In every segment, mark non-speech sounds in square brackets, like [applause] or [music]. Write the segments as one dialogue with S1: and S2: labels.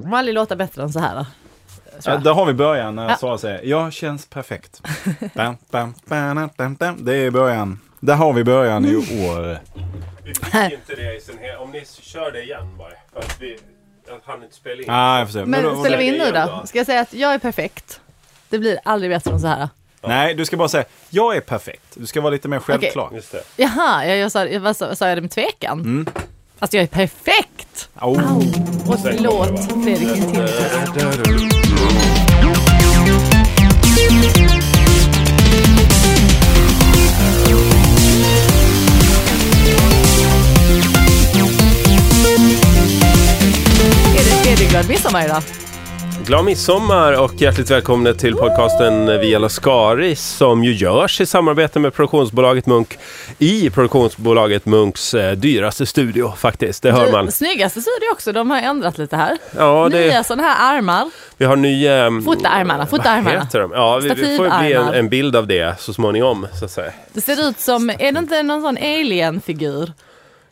S1: kommer aldrig låta bättre än så här. tror
S2: Ja,
S1: jag.
S2: där har vi början när
S1: Ja.
S2: Sara säger jag känns perfekt. Bam, bam, bam, bam, bam. Det är början. Där har vi början i år.
S3: Vi fick inte det i sin hel... Om ni kör det igen bara. För att vi... Jag hann inte spela in.
S2: Ah, jag får se.
S1: Men ställer vi in nu
S3: igen
S1: då?
S3: då?
S1: Ska jag säga att jag är perfekt? Det blir aldrig bättre än så här.
S2: Nej, du ska bara säga jag är perfekt. Du ska vara lite mer självklar.
S3: Just det.
S1: Jaha, jag, jag sa, jag, vad sa, sa jag det med tvekan? Alltså jag är perfekt!
S2: Oh.
S1: Och låt Fredrik Intill. Är det tredje glad midsommar idag?
S3: Glad midsommar och hjärtligt välkomna till podcasten Via Lascaris som ju görs i samarbete med produktionsbolaget Munk i produktionsbolaget Munks eh, dyraste studio faktiskt. Det hör man.
S1: Snyggaste studio också, de har ändrat lite här.
S3: Ja,
S1: Nya
S3: det,
S1: sådana här armar.
S3: vi har nya... ehm,
S1: Fota armarna, fota
S3: Vad
S1: armarna.
S3: heter de? Ja, vi, vi får ju bli en,
S1: Stativarmar.
S3: en bild av det så småningom så att säga.
S1: Det ser ut som, är det inte någon sån alien-figur?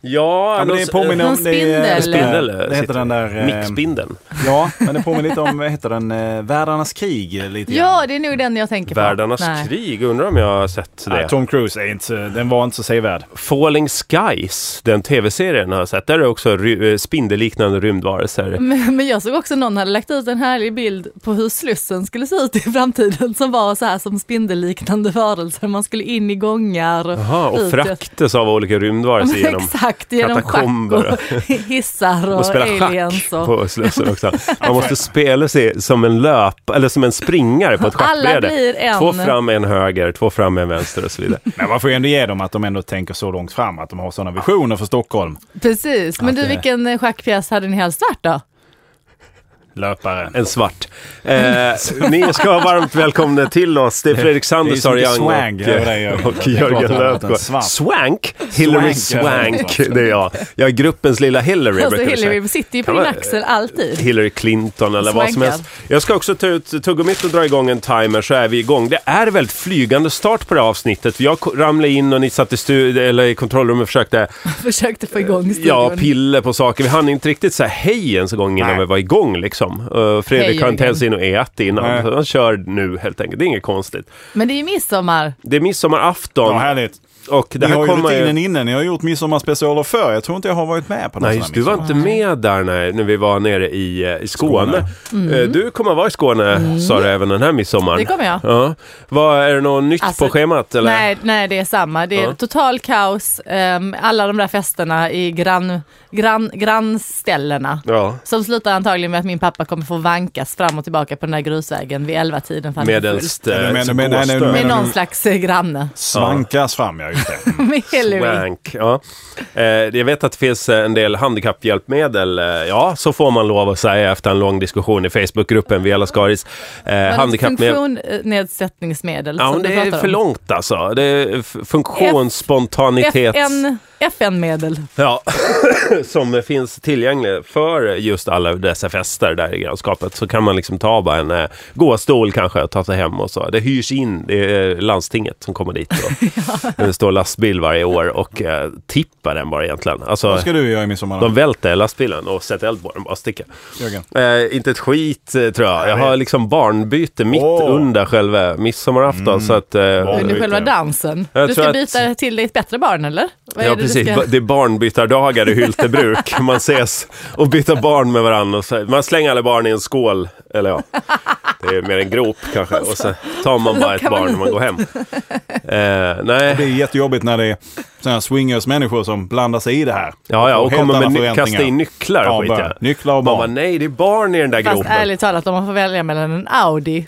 S3: Ja,
S2: Ja, men det
S3: någon-
S2: påminner om...
S1: Någon
S2: Det, är-
S1: spindel.
S3: Spindel
S2: det heter
S3: sitter-
S2: den där... eh,
S3: Mixspindeln.
S2: Ja, men det påminner lite om, vad heter den, eh, Världarnas krig eh, lite grann.
S1: Ja, det är nog den jag tänker på.
S3: Världarnas
S1: Nej.
S3: krig, undrar om jag har sett det.
S2: Nej, Tom Cruise är inte, den var inte så sevärd.
S3: Falling Skies, den tv-serien har jag sett. Där är det också ry- eh, spindelliknande rymdvarelser.
S1: Men men jag såg också någon hade lagt ut en härlig bild på hur Slussen skulle se ut i framtiden som var så här som spindelliknande varelser. Man skulle in i gångar och,
S3: Jaha, och
S1: ut.
S3: fraktes av olika
S1: Ja, [laughs]
S3: rymdvarelser
S1: men
S3: genom
S1: Exakt, genom schack
S3: katakomber.
S1: och [laughs] hissar och,
S3: och spela
S1: aliens
S3: schack
S1: och...
S3: på
S1: [laughs]
S3: Slussen också. Man måste spela sig som en löp, eller som en springare på ett
S1: Alla
S3: schackbräde.
S1: blir en.
S3: Två fram, en höger, två fram, en vänster och så vidare.
S2: Men man får ju ändå ge dem att de ändå tänker så långt fram, att de har sådana visioner för Stockholm.
S1: Precis, men
S2: Att
S1: du
S2: det-
S1: vilken eh, schackpjäs hade ni helst varit då?
S2: Löparen.
S3: En svart. Eh, ni ska vara varmt välkomna till oss. Det är Fredrik Sanders,
S2: Det är
S3: Sara
S2: ju så
S3: Young och,
S2: mycket swag över dig, Jörgen.
S3: och
S2: Jag
S3: Jörgen
S2: pratar om att en
S3: Löfgård.
S2: svamp.
S3: Swank? Hillary
S2: Swank.
S3: Swank, det är jag. Jag är gruppens lilla Hillary.
S1: Alltså
S3: brukar vi säga.
S1: Hillary sitter ju på
S3: Kan
S1: din
S3: man-
S1: axel [laughs] alltid.
S3: Hillary Clinton eller vad som
S1: Swankar.
S3: helst. Jag ska också ta ut tuggummit och dra igång en timer så är vi igång. Det är väldigt flygande start på det här avsnittet. Jag ko- ramlade in och ni satt i, stu- eller i kontrollrummet och försökte
S1: Försökte få igång studion.
S3: ja, pilla på saker. Vi hann inte riktigt säga hej ens en gång innan
S2: Nej.
S3: vi var igång liksom. Uh,
S1: Hej,
S3: Fredrik har inte
S1: Jörgen.
S3: ens in och ätit innan.
S2: Nej.
S3: Så Han kör nu helt enkelt. Det är inget konstigt.
S1: Men det är ju midsommar.
S3: Det är midsommarafton
S2: Ja, härligt.
S3: och det
S2: ni
S3: här
S2: har ju
S3: kommer
S2: rutinen inne. Ni har gjort midsommarspecialer förr. Jag tror inte jag har varit med på någon sån
S3: Nej, just,
S2: här
S3: du var
S2: midsommar.
S3: inte med där när, när vi var nere i, eh, i Skåne. Eh, Du kommer vara i Skåne, sa du, även den här midsommaren.
S1: Mm. Det kommer jag.
S3: Ja. Vad, är det något nytt
S1: Alltså,
S3: på schemat? Eller?
S1: Nej, nej, det är samma. Det är
S3: Ja.
S1: total kaos. ehm, alla de där festerna i grann, grann, grannställena.
S3: Ja.
S1: Som slutar antagligen med att min pappa kommer få vankas fram och tillbaka på den där grusvägen vid elva tiden för att han är full.
S3: Medelst eh,
S2: Men- men- men- nej, nej,
S3: gåsdörr.
S1: Med
S2: men-
S1: någon slags eh, granne. [laughs]
S2: Svankas fram, ja just
S3: [laughs]
S2: det.
S1: Med Hillary.
S3: Swank. Ja. Eh, jag vet att det finns eh, en del handikapphjälpmedel. Eh, ja, så får man lov att säga efter en lång diskussion i Facebookgruppen Via Lascaris. Eh, handikappmedel.
S1: Funktionsnedsättningsmedel.
S3: Ja,
S1: som
S3: men det
S1: du
S3: är
S1: pratar om.
S3: för långt alltså. Det är f- funktionsspontanitets...
S1: FN, FN-medel.
S3: Ja, [coughs] som finns tillgänglig för just alla dessa fester där i grannskapet. Så kan man liksom ta bara en eh, gåstol kanske och ta sig hem och så. Det hyrs in, det är landstinget som kommer dit.
S1: [laughs]
S3: Och, Det står lastbil varje år och eh, tippar den bara egentligen. Alltså,
S2: Vad ska du göra i midsommar
S3: de
S2: då,
S3: välter lastbilen och sätter eld på den bara och sticker.
S2: Jörgen?
S3: Eh, inte ett skit eh, tror jag. Jag
S2: Jag
S3: har
S2: vet.
S3: liksom barnbyte mitt
S2: Åh. Mm.
S3: under själva midsommarafton. Så att, eh,
S2: Ja,
S1: Under
S2: det
S1: själva
S2: vet jag.
S1: dansen.
S3: Jag
S1: du
S3: tror
S1: ska
S3: att-
S1: byta till dig ett bättre barn eller? Vad
S3: ja,
S1: är det du
S3: precis.
S1: ska-
S3: Ba- Det är barnbytardagar i
S2: [laughs]
S3: Hyltebruk. Man ses och byter barn med varandra. Och så, man slänger alla barn i en skål, eller ja, det är mer en grop kanske. Och så tar man bara ett
S1: lockar man
S3: barn när man går hem. Eh,
S2: Det
S3: nej,
S2: är jättejobbigt när det är sådana här swingers-människor som blandar sig i det här.
S3: ja, ja, och
S2: Helt
S3: kommer
S2: andra
S3: med ny-
S2: förväntningar.
S3: kasta in nycklar
S2: Ja,
S3: och skit.
S2: bara
S3: ja.
S2: nycklar och
S3: Man
S2: barn.
S3: bara, nej, det är barn i den där
S1: Fast
S3: gropen.
S1: ärligt talat, om man får välja mellan en Audi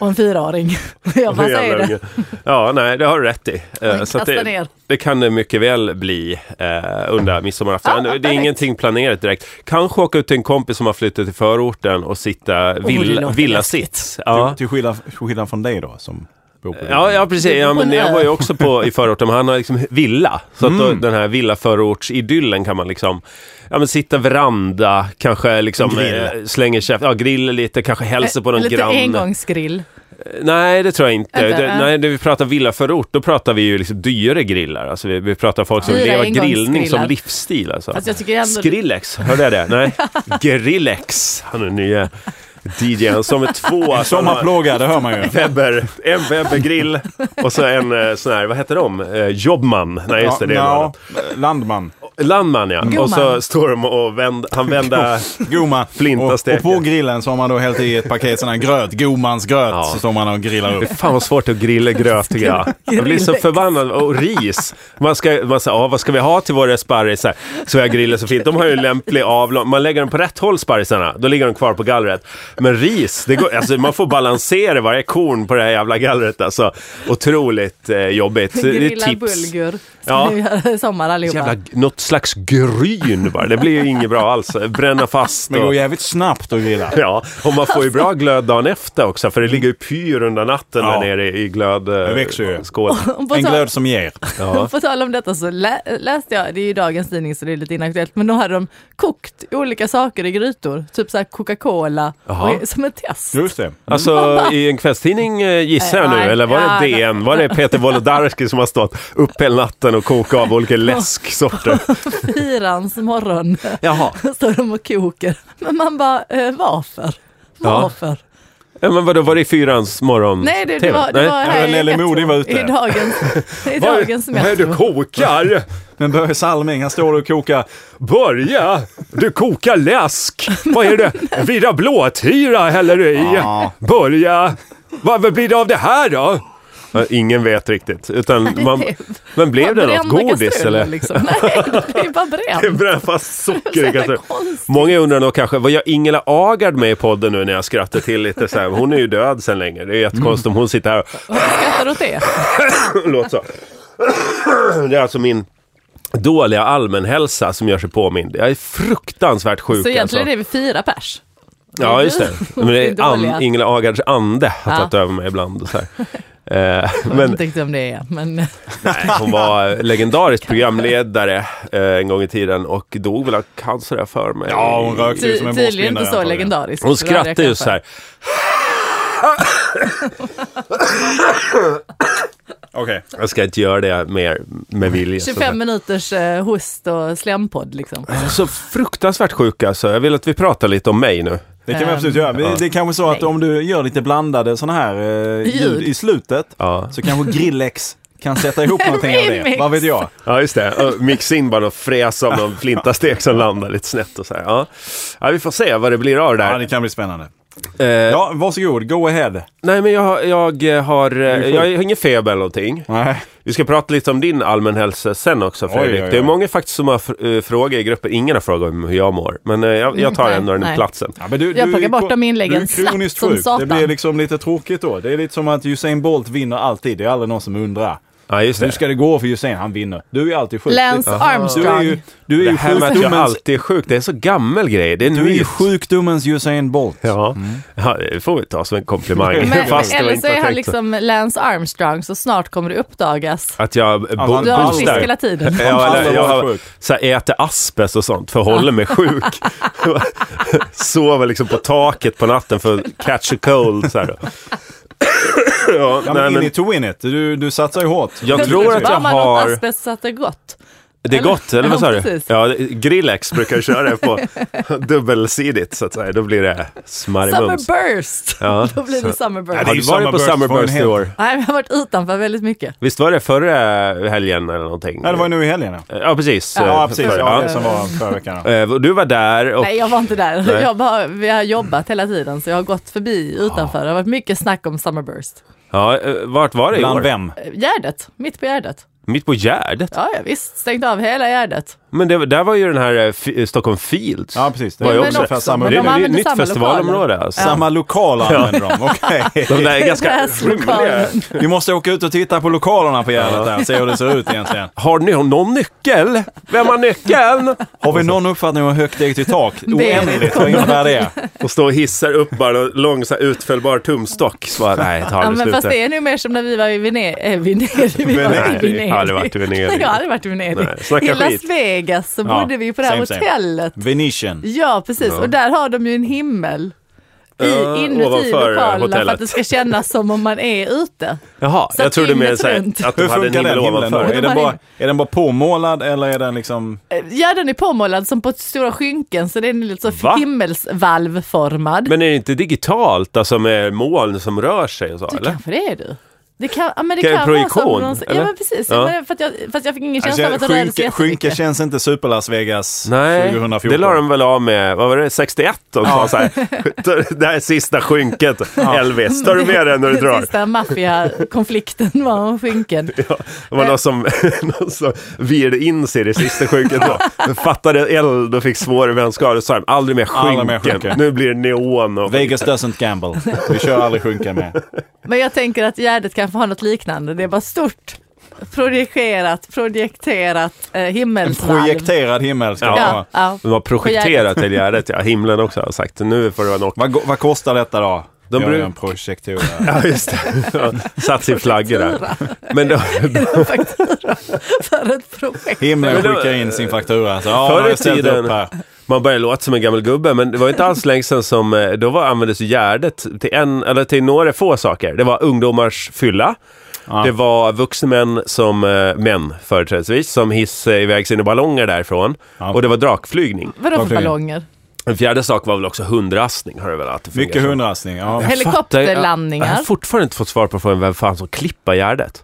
S1: och en fyraåring. [laughs] Jag bara säger det.
S3: Ja, nej, det har du rätt i. Eh,
S1: Men
S3: så att
S1: kasta
S3: det,
S1: ner.
S3: det kan det mycket väl bli eh, under midsommarafton.
S1: Ja,
S3: det är
S1: perfekt.
S3: ingenting planerat direkt. Kanske åka ut till en kompis som har flyttat till förorten och sitta
S1: det
S3: vill,
S1: låter
S3: villa
S1: läskigt.
S3: sits. Ja.
S2: Till skillnad, till skillnad från dig då, som Bor på
S3: Ja, ja precis. Ja, men
S1: På en
S3: jag var ju
S1: ö. [laughs]
S3: också på, i förorten, men han har liksom villa. Så att då, den här villaförortsidyllen kan man liksom, ja men sitta veranda, kanske liksom
S2: Grill.
S3: eh, slänger käft, ja grill lite, kanske hälsa på någon
S1: Lite
S3: granne.
S1: engångsgrill.
S3: Nej, det tror jag inte.
S1: Inte,
S3: det,
S1: ja.
S3: nej, när vi pratar villaförort, då pratar vi ju liksom dyrare grillar. Alltså vi, vi pratar folk som
S1: Dyra
S3: lever grillning som
S1: engångsgrillar.
S3: livsstil alltså.
S1: Fast jag tycker ändå-
S3: Skrillex, hörde jag det?
S1: [laughs]
S3: Nej, Grillex, han är nya DJn som är två. [laughs] som har-
S2: Sommarplåga, det hör man
S3: [laughs]
S2: ju.
S3: Weber, en Webergrill och så en eh, sån här, vad heter de? Eh, Jobman. Nej just det, det är en
S2: ja,
S3: annan.
S2: ja, Landman,
S3: Landman ja.
S1: Gumman.
S3: Och så står de och vänd, han [laughs] vända
S2: Goma.
S3: Flinta
S2: och,
S3: steker.
S2: och på grillen så har man då hällt i ett paket sån här gröt, Gomans gröt,
S3: Ja.
S2: så står man och grillar upp.
S3: Fan vad svårt att grilla gröt tycker jag. Jag blir så förbannad. Och ris. Man ska, man säger, ah, vad ska vi ha till våra sparrisar? Så jag grillar så fint. De har ju en lämplig avlång, man lägger dem på rätt håll sparrisarna, då ligger de kvar på gallret. Men ris, det går, alltså, man får balansera varje korn på det här jävla gallret alltså. Otroligt eh, jobbigt. Så Det är
S1: Grilla
S3: tips.
S1: bulgur. Ska
S3: Ja.
S1: ni göra i sommar allihopa.
S3: Jävla, något slags gryn bara. Det blir ju inget bra alls. Bränna fast.
S2: Men det
S3: Och,
S2: går jävligt snabbt att grilla.
S3: [laughs] ja, och man får ju bra glöd dagen efter också. För det ligger ju pyr under natten
S2: Ja.
S3: där nere i glöd, eh,
S2: växer
S1: [laughs]
S2: ju.
S3: skålen.
S1: Och på
S2: En
S1: tal-
S2: glöd som ger.
S1: På tal om detta så lä läste jag, det är ju dagens tidning så det är lite inaktuellt, men då hade de kokt olika saker i grytor, typ så här Coca-Cola,
S3: Jaha.
S1: och, som ett test.
S2: Just det.
S3: Alltså i en kvällstidning eh, gissar jag nu,
S1: Eh, nej.
S3: eller var det
S1: Ja, nej.
S3: DN? Var det Peter Wolodarski som har stått upp hela natten och kokat av olika läsksorter?
S1: Firans morgon [laughs]
S3: Jaha.
S1: står de och kokar. Men man bara, eh, varför?
S3: Ja.
S1: Varför?
S3: Ja, men vadå, var det i fyrans morgon?
S1: Nej, det, det
S3: TV?
S1: var, det
S3: Mm. Nej.
S1: var här
S2: Ja,
S1: i
S2: Lelle
S1: Metro.
S2: Modig var ute.
S1: I dagens, i
S3: Vad-
S1: dagens
S3: Vad är det du
S1: Metro.
S3: kokar?
S2: Men Börje Salming, han står och kokar.
S3: Börja! Du kokar läsk! Vad är det? Vira blåtira häller du i!
S2: Ja.
S3: Börja! Vad vad blir det av det här då? Ja, Ingen vet
S1: [laughs]
S3: riktigt. Utan man, men blev det något?
S1: Brända
S3: Godis
S1: kastruller,
S3: eller?
S1: Liksom. Nej, det är bara bränt.
S3: Bränna fast
S1: Så
S3: socker i
S1: jävla
S3: kastrullen.
S1: konstigt.
S3: Många undrar nog kanske, vad gör Ingela Agard med i podden nu när jag skrattar till lite så här? Hon är ju död sedan länge. Det är jättekonstigt om hon sitter här
S1: Skrattar åt det?
S3: och låter så. Det är alltså min dåliga allmänhälsa som gör sig påmind. Jag är fruktansvärt sjuk.
S1: Så egentligen
S3: alltså.
S1: är vi fyra pers.
S3: Ja,
S1: [laughs]
S3: just det. Men det är
S1: Din dåliga.
S3: an, Ingela Agards ande har
S1: Ja.
S3: tagit över mig ibland. Och så här. Eh,
S1: Jag
S3: Men
S1: vet inte om det är, men
S3: nej, hon var legendarisk programledare eh, en gång i tiden och dog väl av cancer har jag för mig.
S2: Ja, hon rökte ju som en
S1: tydligen inte
S2: borstbindare,
S1: så
S2: antagligen.
S1: legendarisk.
S3: Hon
S1: Så det hade jag
S3: skrattar ju
S1: kanske.
S3: så här.
S2: Okej.
S3: Jag ska inte göra det mer med vilja. så att säga.
S1: 25 minuters eh, host och slempodd liksom.
S3: Jag är så fruktansvärt sjuk alltså. Jag vill att vi pratar lite om mig nu.
S2: Det kan vi
S1: Ehm,
S2: absolut göra. Det, det är kanske så att
S1: nej.
S2: om du gör lite blandade sådana här eh, ljud
S1: Ljud.
S2: i slutet
S3: Ja,
S2: så kanske Grillex kan
S1: [laughs]
S2: sätta ihop någonting av det.
S1: Remix.
S2: Vad vet jag?
S3: ja just det. Och mixa in bara och fräsa om någon flintastek som landar lite snett och så här. Ja. ja, vi får se vad det blir av det
S2: Ja,
S3: där.
S2: det kan bli spännande.
S3: Eh,
S2: Ja, varsågod. Go ahead.
S3: Nej, men jag, jag har, eh,
S2: sjuk.
S3: jag har ingen feber eller någonting.
S2: Nej.
S3: Vi ska prata lite om din allmänhälsa sen också Fredrik.
S2: oj, oj.
S3: Det är många faktiskt som har fr- eh, frågor i gruppen. Ingen har frågat om hur jag mår. Men eh, jag, jag tar
S1: Mm,
S3: ändå
S1: nej,
S3: den
S1: nej.
S3: platsen.
S2: Ja, men du,
S1: Jag plockar bort
S2: ko-
S1: de inläggen
S2: Du är kroniskt
S1: snabbt som
S2: sjuk. Det
S1: satan.
S2: blir liksom lite tråkigt då. Det är lite som att Usain Bolt vinner alltid. Det är aldrig någon som undrar.
S3: Ja, just
S2: Hur
S3: det.
S2: ska det gå för Usain? Han vinner. Du är ju alltid sjuk.
S1: Lance
S2: Det-
S1: Armstrong.
S2: Du är ju, du är
S3: Det
S2: ju
S3: här med att jag
S2: sjukdomens,
S3: alltid är sjuk, det är en så gammal grej. Det är en
S2: du är ju Mm.
S3: myt.
S2: sjukdomens Usain Bolt.
S3: Ja. ja, det får vi ta som en komplimang.
S1: Men,
S3: Fast det var
S1: eller så
S3: inte
S1: är han
S3: tänkt så.
S1: liksom Lance Armstrong, så snart kommer det uppdagas.
S3: Att jag bo-
S2: han-
S1: Du har varit frisk
S2: Boostar.
S1: hela tiden.
S3: Ja, eller,
S2: Alla var
S3: jag har,
S2: sjuk.
S3: så här, äter asbest och sånt för att hålla
S2: [laughs]
S3: mig sjuk. Sover liksom på taket på natten för att catch a cold. Så här. ja,
S2: Ja, men
S3: nej,
S2: in
S3: men
S2: it to win it. Du, du satsar ju hårt.
S3: jag tror att jag
S1: Bara man åt
S3: har...
S1: asbest så att det är gott.
S3: Det är
S1: eller?
S3: gott, eller vad sa
S1: Ja,
S3: du?
S1: precis.
S3: Ja, Grillex brukar jag köra det
S2: [laughs]
S3: på dubbelsidigt så att säga. Då blir det smarrimums.
S1: Summerburst!
S3: Ja,
S1: Då blir det
S3: så-
S1: summerburst.
S3: Har
S2: ju
S3: du varit på
S2: Summerburst
S3: Summerburst
S2: från
S3: i
S2: en
S3: år?
S1: Nej, men jag har varit utanför väldigt mycket.
S3: Visst var det förra helgen eller någonting?
S2: Ja, det var ju nu i helgen. ja.
S3: Ja, precis.
S2: Ja,
S3: Eh,
S2: precis.
S3: förra.
S2: Ja, det som var förra veckan. ja.
S3: Eh, Du var där och...
S1: Nej, jag var inte där.
S3: Nej.
S1: Jag bara, vi har jobbat hela tiden, så jag har gått förbi utanför. Det har varit mycket snack om Summerburst.
S3: Ja, eh, vart var det i
S2: Bland
S3: år?
S2: vem?
S1: Eh, Gärdet, mitt på Gärdet.
S3: Mitt på Gärdet?
S1: Ja, ja visst. Stängt av hela Gärdet.
S3: Men det, där var ju den här eh, F- Stockholm Fields.
S2: Ja, precis. Det
S3: Var
S2: är
S3: ju
S1: men
S3: också-
S2: ungefär
S3: Men
S2: samma,
S3: det
S1: de
S3: är ett
S1: använder
S3: nytt
S1: samma
S3: festivalområde.
S1: lokaler.
S3: Alltså.
S2: samma lokal använder de. Okej.
S3: [laughs] De där
S1: [laughs]
S3: är ganska
S1: Gräslokalen.
S3: rymliga.
S2: Vi måste åka ut och titta på lokalerna på Gärdet där och se hur det ser ut
S3: [laughs]
S2: egentligen.
S3: Har ni någon nyckel? Vem har nyckeln?
S2: Har vi någon uppfattning om hur högt det är till tak? Oändligt, vad innebär det?
S3: Och står och hissar upp bara en lång så här, utfällbar tumstock. Så bara, nej, ta
S1: Ja,
S3: aldrig
S1: men
S3: slut
S1: fast
S3: nu.
S1: det är nu mer som när vi var i Vene- eh,
S3: [laughs]
S1: Venedig. Vi var i
S3: Venedig. Jag har aldrig varit i Venedig.
S1: Nej, [laughs] jag har aldrig varit i Venedig.
S3: Nej, snacka
S1: I Las
S3: skit.
S1: Vegas så
S2: Ja,
S1: bodde vi på det här
S2: same, same.
S1: hotellet.
S2: Venetian.
S1: Ja, precis. Och där har de ju en himmel. I,
S3: Ja,
S1: inuti
S3: ovanför
S1: lokalen för att
S3: hotellet.
S1: det ska kännas som om man är ute.
S3: Jaha,
S1: Så
S3: jag trodde mer
S1: dygnet
S3: så här,
S1: runt.
S3: att de
S2: Hur
S3: hade en
S2: funkar
S3: himmel
S2: den himlen då?
S3: ovanför.
S2: Är den, bara, är den bara påmålad eller är den liksom...
S1: Eh, Ja, den är påmålad som på stora skynken så den är lite så
S3: Va?
S1: himmelsvalvformad.
S3: Men är det inte digitalt, alltså med moln som rör sig och så,
S1: Det
S3: eller?
S1: kanske det är du. Det kan, ja, men det
S3: Kan
S1: kan,
S3: jag
S1: vara som
S3: projektion,
S1: någon,
S3: eller?
S1: Ja men precis,
S3: Ja.
S1: ja.
S3: Alltså,
S1: men för att jag, fast jag fick ingen känsla av att det rörde sig
S2: skynke, skynke
S1: jättemycket.
S2: Alltså, känns inte super Las Vegas
S3: Nej,
S2: 2014.
S3: det la [laughs] de väl av med, vad var det, 61? De sa så här, det här är sista skynket, Elvis, tar du med
S1: [laughs]
S3: den när du drar?
S1: Sista maffiakonflikten var om skynken.
S3: [laughs] Det
S2: Eh.
S3: var någon som, någon som virade in sig i det sista skynket
S2: [laughs]
S3: då. Men fattade eld och fick svårare vänskap. Då sa de, aldrig mer
S2: Aldrig mer
S3: skynken.
S2: skynken.
S3: Nu blir det neon och...
S2: Vegas doesn't gamble. Vi kör aldrig
S1: [laughs]
S2: skynke med.
S1: Men jag tänker att Gärdet kanske har något liknande. Det är bara stort, projicerat, projekterat eh,
S2: En
S1: himmelsvalv.
S2: projekterad himmel ska det vara.
S1: ja, ja.
S3: De har projekterat till Gärdet, ja. Himlen också har sagt, nu får det vara nog.
S2: Vad, go- vad kostar detta då?
S3: De
S2: De
S3: bru-
S2: brukar en projektor.
S3: [laughs] Ja, just det. Satt sin flagga där. Men då,
S1: faktura för ett projekt.
S2: Himlen
S3: [laughs] Men då-
S2: skickar in sin faktura. Så, ja,
S3: Förr
S2: nu
S3: i
S2: har jag ställt
S3: tiden-
S2: upp här.
S3: man börjar låta som en gammal gubbe, men det var inte alls länge sedan som, eh, då var, användes ju Gärdet till, en, eller till några få saker. Det var ungdomars fylla,
S2: Ja.
S3: det var vuxna män, som, eh, män företrädesvis, som hissade iväg sina ballonger därifrån.
S2: Ja.
S3: Och det var drakflygning.
S1: Vadå för
S2: Verkligen.
S1: ballonger?
S3: En fjärde sak var väl också hundrastning, har det väl alltid fungerat
S2: Mycket
S3: som.
S2: hundrastning. Ja.
S3: Jag fattar-
S1: Helikopterlandningar.
S3: Jag, jag har fortfarande inte fått svar på frågan vem fan som klippar Gärdet.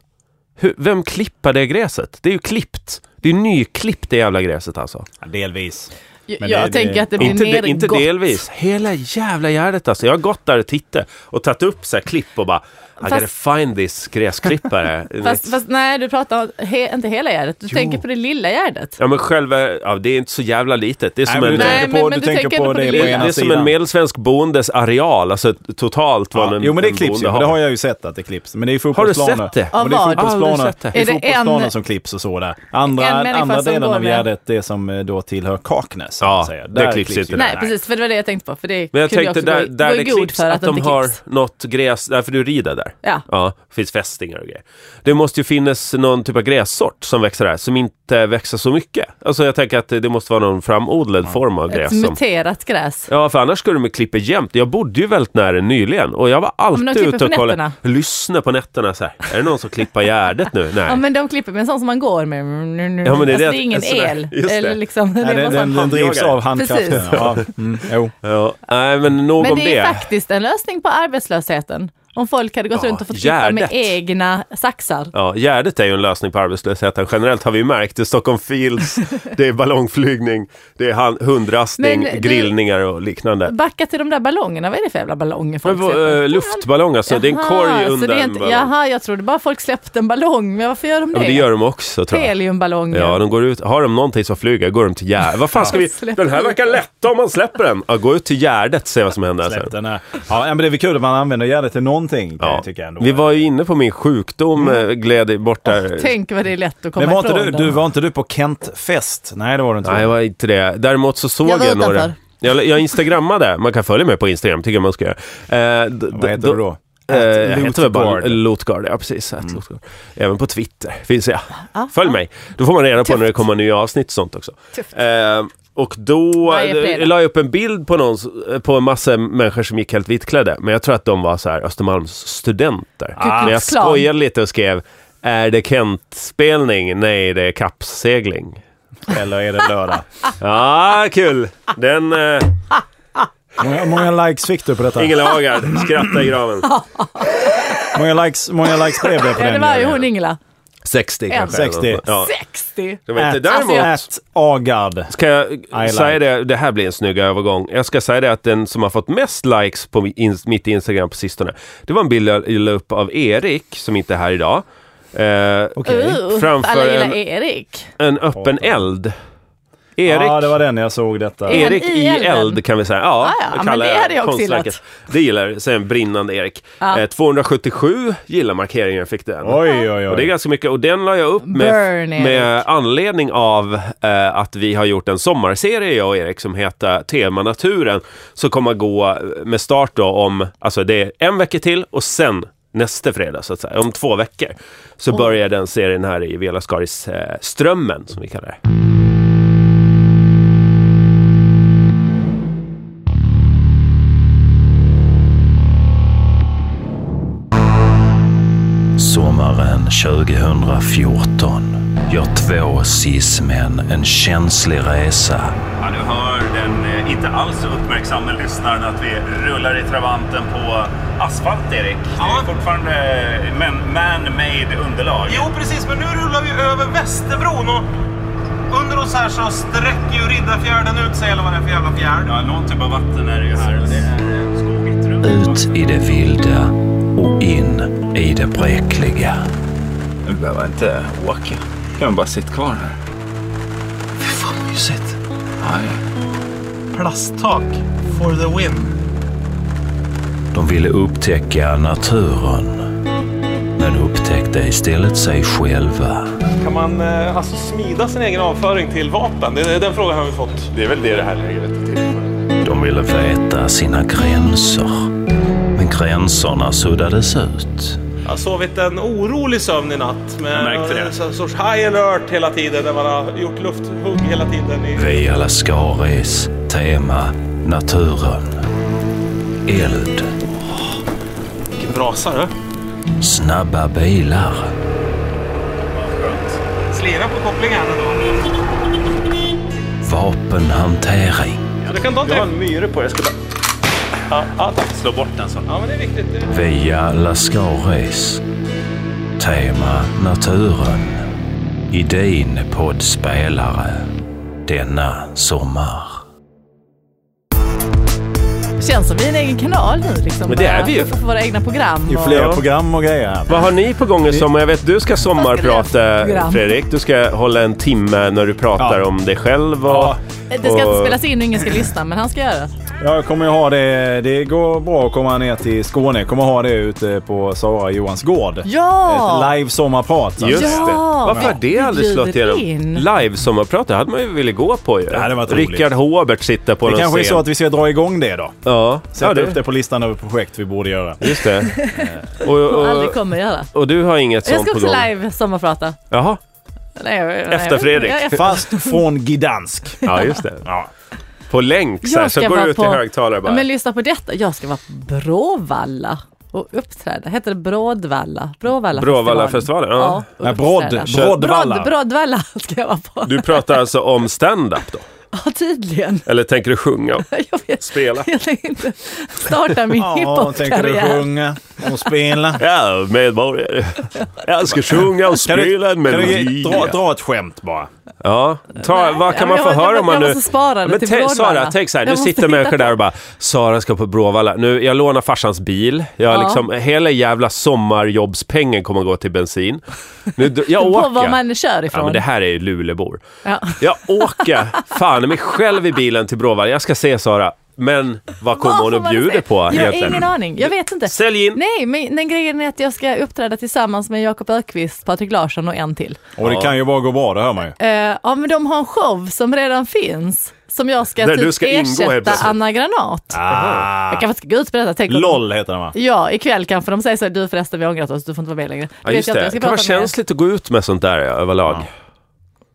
S3: Hur, vem klippar det gräset? Det är ju klippt. Det är ju nyklippt det jävla gräset alltså.
S2: Delvis.
S1: Jag,
S2: Men det-
S1: jag
S2: det-
S1: tänker att det blir
S3: Inte,
S1: nergått.
S3: de, inte delvis. Hela jävla Gärdet alltså. Jag har gått där och tittat och tagit upp så här klipp och bara I gotta
S1: Fast-
S3: find this gräsklippare.
S1: [laughs] Fast, fast nej, du pratar om he, inte hela Gärdet. Du tänker på det lilla Gärdet.
S3: Ja men själva, ja, det är inte så jävla litet. Det är
S2: Nej,
S3: som
S2: men du
S3: en...
S1: Nej,
S2: tänker
S1: men-
S2: på,
S1: men
S2: du
S1: du
S2: tänker
S1: tänker
S2: på
S1: inte
S2: det
S1: på
S2: på
S1: det lilla.
S3: Det
S2: ena
S3: är som en
S2: sidan.
S3: medelsvensk bondes areal, alltså totalt vad
S2: Ja,
S3: en,
S2: jo men det
S3: en
S2: klipps ju,
S3: bonde
S2: men det har jag ju sett att det klipps. Men det är ju fotbollsplaner.
S3: sett det?
S2: Ja, men det är
S1: Av vad?
S3: Aldrig
S2: fotbollsplaner,
S3: sett det.
S2: det är
S1: Är det
S2: fotbollsplaner
S1: en-
S2: som klipps och så där. Andra,
S1: människa
S2: andra
S1: som
S2: delen
S1: går
S2: av
S1: med?
S2: Gärdet, det som eh, då tillhör Kaknäs. så
S3: Ja,
S2: att säga.
S3: det klipps inte
S1: Nej,
S3: Nej.
S1: precis. För det var det jag tänkte på. För det
S3: Men jag
S1: kunde
S3: tänkte
S1: också gå
S3: där,
S1: i-
S3: där
S1: gå i
S3: det
S1: god
S3: klipps,
S1: för
S3: att,
S1: att,
S3: de
S1: det inte
S3: har
S1: klipps.
S3: något gräs, därför du rider där.
S1: Ja.
S3: finns fästingar och grejer. Det måste ju finnas någon typ av grässort som växer där, som inte växer så mycket. Alltså jag tänker att det det måste vara någon framodlad form av
S1: Ett
S3: gräs. Som,
S1: muterat gräs.
S3: ja, för annars skulle de ju klippa jämt. Jag bodde ju väldigt nära nyligen och jag var
S1: de
S3: alltid
S1: klipper
S3: ute och
S1: på
S3: kollade,
S1: nätterna.
S3: lyssna på nätterna så här. Är det någon som klippar gärdet nu? Nej.
S1: Ja men de klipper med en sån som man går med.
S3: Ja, men det är
S1: alltså,
S3: det
S1: det
S3: att-
S1: är ingen
S3: en sån där-
S1: el.
S3: just det.
S1: Eller liksom, det
S2: Nej,
S1: är
S2: den,
S1: bara
S2: den,
S1: sån-
S2: den drivs
S3: handjagare.
S2: av handkraften.
S1: Precis.
S2: Ja.
S1: [laughs]
S2: Mm, jo.
S3: Ja, nej, men nog
S1: Men
S3: om
S1: det
S3: det.
S1: är faktiskt en lösning på arbetslösheten. Om folk hade gått
S3: Ja,
S1: runt och fått klippa med
S3: Gärdet.
S1: egna saxar.
S3: Ja, Gärdet är ju en lösning på arbetslösheten. Generellt har vi ju märkt det.
S1: [laughs]
S3: Stockholm Fields, det är ballongflygning, det är han- hundrastning,
S1: Men du-
S3: grillningar och liknande.
S1: Backa till de där ballongerna, vad är det för jävla ballonger folk
S3: Men,
S1: släpper?
S3: äh, luftballong alltså, det är en
S1: Jaha,
S3: korg
S1: så
S3: under
S1: det är
S3: en
S1: inte-
S3: ballong.
S1: Jaha, jag trodde bara folk släppte en ballong, men varför gör de
S3: Ja,
S1: det?
S3: men det gör de också tror jag.
S1: Heliumballonger.
S3: Ja, de går ut. Har de någonting som flyger, går de till Gärdet. Vad fan
S2: [laughs]
S3: ska vi...
S1: Släpp
S3: Den här verkar lätta om man släpper den. Ja, gå ut till Gärdet se vad som händer sen.
S2: Släpp den här. Ja, men det är väl kul att man använder Gärdet till någonting. kan
S3: Ja.
S2: Jag tycka ändå.
S3: Vi var ju inne på min sjukdom, mm. gled bort där.
S1: Tänk vad det är lätt att komma
S2: men var inte
S1: ifrån
S2: du,
S1: den.
S2: du, var inte du på Kentfest? Nej, det var du inte.
S3: Nej, det var inte det. Däremot så såg
S1: Jag
S3: jag,
S1: var
S3: några...
S1: utanför.
S3: Jag, jag instagrammade, man kan följa mig på Instagram, tycker jag man ska göra. Eh, d-
S2: Vad heter
S3: d-
S2: du då?
S3: Eh, jag heter väl bara
S2: Lotgard.
S3: Lotgard, ja precis. At
S1: Mm.
S3: Lotgard. Även på Twitter finns jag. Följ mig, då får man reda på när det kommer nya avsnitt och sånt också.
S1: Tufft.
S3: Eh, och då
S1: Varje fredag.
S3: eh, la jag upp en bild på, någon, s- eh, på en massa människor som gick helt vitklädda, men jag tror att de var så här Östermalms studenter.
S1: Ku Klux
S3: Men jag
S1: Klan.
S3: skojade lite och skrev, är det Kent-spelning? Nej, det är kappsegling.
S2: Eller är det lördag?
S3: Ja, kul! Den... Eh,
S2: många, många likes fick du på detta?
S3: Ingela Agard, skratta
S1: [laughs]
S3: i graven.
S2: Många likes, många likes blev det på
S1: Ja,
S2: den.
S1: det var ju
S2: Jörgen.
S1: hon Ingela.
S3: 60 kanske.
S2: 60.
S3: Ja.
S1: 60!
S3: Det var inte
S2: At-
S1: Alltså,
S3: däremot...
S2: At Agard.
S3: Ska jag
S2: like.
S3: säga det, det här blir en snygg övergång. Jag ska säga det att den som har fått mest likes på min- ins- mitt Instagram på sistone, det var en bild jag la upp av Erik, som inte är här idag. Eh,
S2: Okej.
S1: Uh,
S3: Framför
S1: alla gillar
S3: en-
S1: Erik.
S3: en öppen eld. Erik.
S2: Ja, det var den jag såg detta.
S1: Är han
S3: Erik
S1: i
S3: i
S1: elden?
S3: eld kan vi säga. Ja,
S1: Ah, ja,
S3: jag
S1: men
S3: kallar
S1: det hade jag också
S3: konstverket.
S1: gillat.
S3: Det gillar sen brinnande Erik.
S1: Ja.
S3: Eh, 277 gillar markeringen fick den.
S2: Oj, oj,
S3: Och det är
S2: oj.
S3: ganska mycket och den la jag upp med,
S1: Burn, Erik.
S3: med anledning av eh, att vi har gjort en sommarserie jag och Erik som heter Tema naturen som kommer att gå eh, med start då om, alltså det är en vecka till och sen nästa fredag så att säga, om två veckor så börjar den serien här i Vela Skaris eh, Strömmen som vi kallar det.
S4: Sommaren 2014 gör två cis-män en känslig resa
S5: Ja, du hör den eh, inte alls uppmärksamma lyssnaren att vi rullar i travanten på asfalt, Erik. Det är fortfarande eh, men, man-made underlag.
S6: Jo precis, men nu rullar vi över Västerbron och under oss här så sträcker ju Riddarfjärden ut sig eller vad det är för jävla fjärd.
S5: Ja, någon typ av vatten är det ju här. Det är eh, skogigt runt.
S4: ut i det vilda och in i det bräckliga.
S5: Nu behöver jag inte åka. kan bara sitta kvar här.
S6: Mysigt. Plasttak for the win.
S4: De ville upptäcka naturen, men upptäckte istället sig själva.
S7: Kan man eh, alltså smida sin egen avföring till vapen? Det är den frågan har vi fått.
S5: Det är väl det det här läget är till för.
S4: De ville veta sina gränser, men gränserna suddades ut.
S7: Jag har sovit en orolig sömn i natt med
S5: märkte det.
S7: en sån sorts high alert hela tiden när man har gjort lufthugg hela tiden. I...
S4: Via Lascaris tema naturen. Eld,
S7: Vilken brasa du.
S4: snabba bilar,
S7: Slira på kopplingen ändå.
S4: vapenhantering.
S7: Du kan ta en träff.
S5: en myre på det. Jag ska bara
S7: Ja, ja, tack.
S5: slå bort den så.
S7: ja, men det är viktigt. Det är-
S4: Via Lascaris tema naturen. I din poddspelare denna sommar.
S1: Känns som vi är en egen kanal nu liksom.
S3: Men det är
S1: bara.
S3: vi ju.
S1: får våra egna program.
S2: Ju
S1: och-
S2: fler program och grejer här.
S3: Vad har ni på gång i sommar? Jag vet du ska sommarprata
S1: Program.
S3: Fredrik. Du ska hålla en timme när du pratar
S2: Ja.
S3: om dig själv. Och...
S2: Ja.
S1: Eh, Det ska
S3: och-
S1: inte spelas in och ingen ska lyssna men han ska göra det.
S2: Jag kommer ju ha det. Det går bra att komma ner till Skåne. Jag kommer ha det ute på Sara Johans gård.
S1: Ja!
S2: Ett live sommarprat. alltså.
S3: Just
S1: Ja,
S3: det. Varför har det aldrig
S1: bjuder
S3: slått igenom?
S1: in.
S3: Live-sommarprat, det hade man ju velat gå på ju.
S2: Det hade varit roligt.
S3: Rickard Håbert sitter på
S2: Det
S3: någon
S2: kanske är
S3: scen.
S2: så att vi ska dra igång det då.
S3: Ja,
S2: Sätta
S3: ja det,
S2: upp det på listan över projekt vi borde göra. [laughs]
S3: just det. och,
S1: Och
S3: och,
S1: aldrig kommer göra.
S3: och du har inget
S1: Jag
S3: sånt
S1: ska
S3: på gång?
S1: också live sommarprata.
S3: Jaha,
S1: Nej, jag- nej,
S3: Efter
S1: jag-
S3: Fredrik.
S1: jag- jag-
S2: Fast från Gdansk.
S3: ja just det.
S2: Ja.
S3: På länk så, här,
S1: Jag
S3: så
S1: ska
S3: går
S1: vara
S3: du ut i
S1: på-
S3: högtalare bara.
S1: Ja, men lyssna på detta. Jag ska vara på Bråvalla och uppträda. Heter det Brådvalla? Bråvalla
S3: Bråvallafestivalen, ja.
S1: och
S2: Nej, Bråd-
S1: uppträda.
S2: Kör- Brådvalla.
S1: Bråd- Brådvalla [laughs] ska jag vara på.
S3: Du pratar alltså om stand-up då?
S1: Ja, tydligen.
S3: Eller tänker du sjunga?
S1: Jag vet
S3: Spela?
S1: jag tänker inte starta
S3: [laughs]
S1: min
S2: Ja, tänker du
S1: hiphop-karriär.
S2: sjunga och spela?
S3: Ja, medborgare. Jag ska sjunga och
S2: Kan du,
S3: spela en
S2: kan du
S3: melodi.
S2: dra, dra ett skämt bara?
S3: Ja, ta, vad kan
S1: men
S3: man få
S1: jag-
S3: höra
S1: jag-
S3: om man
S1: jag
S3: nu...
S1: måste spara det
S3: Ja, men
S1: till
S3: tänk-
S1: Bråvalla.
S3: Sara, tänk så här,
S1: Jag
S3: nu
S1: måste
S3: sitter människor
S1: hitta-
S3: där och bara, Sara ska på Bråvalla. Nu, jag lånar farsans bil. Jag
S1: Ja.
S3: liksom, hela jävla sommarjobbspengen kommer gå till bensin. Nu, dr-
S1: [laughs]
S3: jag
S1: På
S3: åker.
S1: var man kör ifrån.
S3: Ja, men det här är ju Lulebor.
S1: Ja.
S3: Jag åker fan mig själv i bilen till Bråvalla. Jag ska se Sara. Men vad kommer
S1: Vad
S3: hon
S1: får
S3: och
S1: man säga?
S3: bjuder på
S1: Jag har
S3: egentligen?
S1: ingen aning. Jag vet inte.
S3: Sälj in!
S1: Nej, men den grejen är att jag ska uppträda tillsammans med Jakob Ökvist, Patrik Larsson och en till.
S2: Och det kan ju bara gå bra, det hör man ju.
S1: Eh, ja, men de har en show som redan finns som jag ska,
S3: Där
S1: typ
S3: du ska ingå helt
S1: ersätta
S3: plötsligt.
S1: Anna Granat.
S2: Ah,
S1: Jag kanske ska gå ut på detta. Tänk om-
S2: LOL heter den va?
S1: Ja, ikväll kanske de säger så här, du förresten vi har ångrat oss, du får inte vara med längre.
S3: Ja,
S1: Vet
S3: just
S1: jag inte,
S3: det.
S1: jag ska
S3: Det kan vara
S1: prata med er.
S3: känsligt att gå ut med sånt där ja, överlag.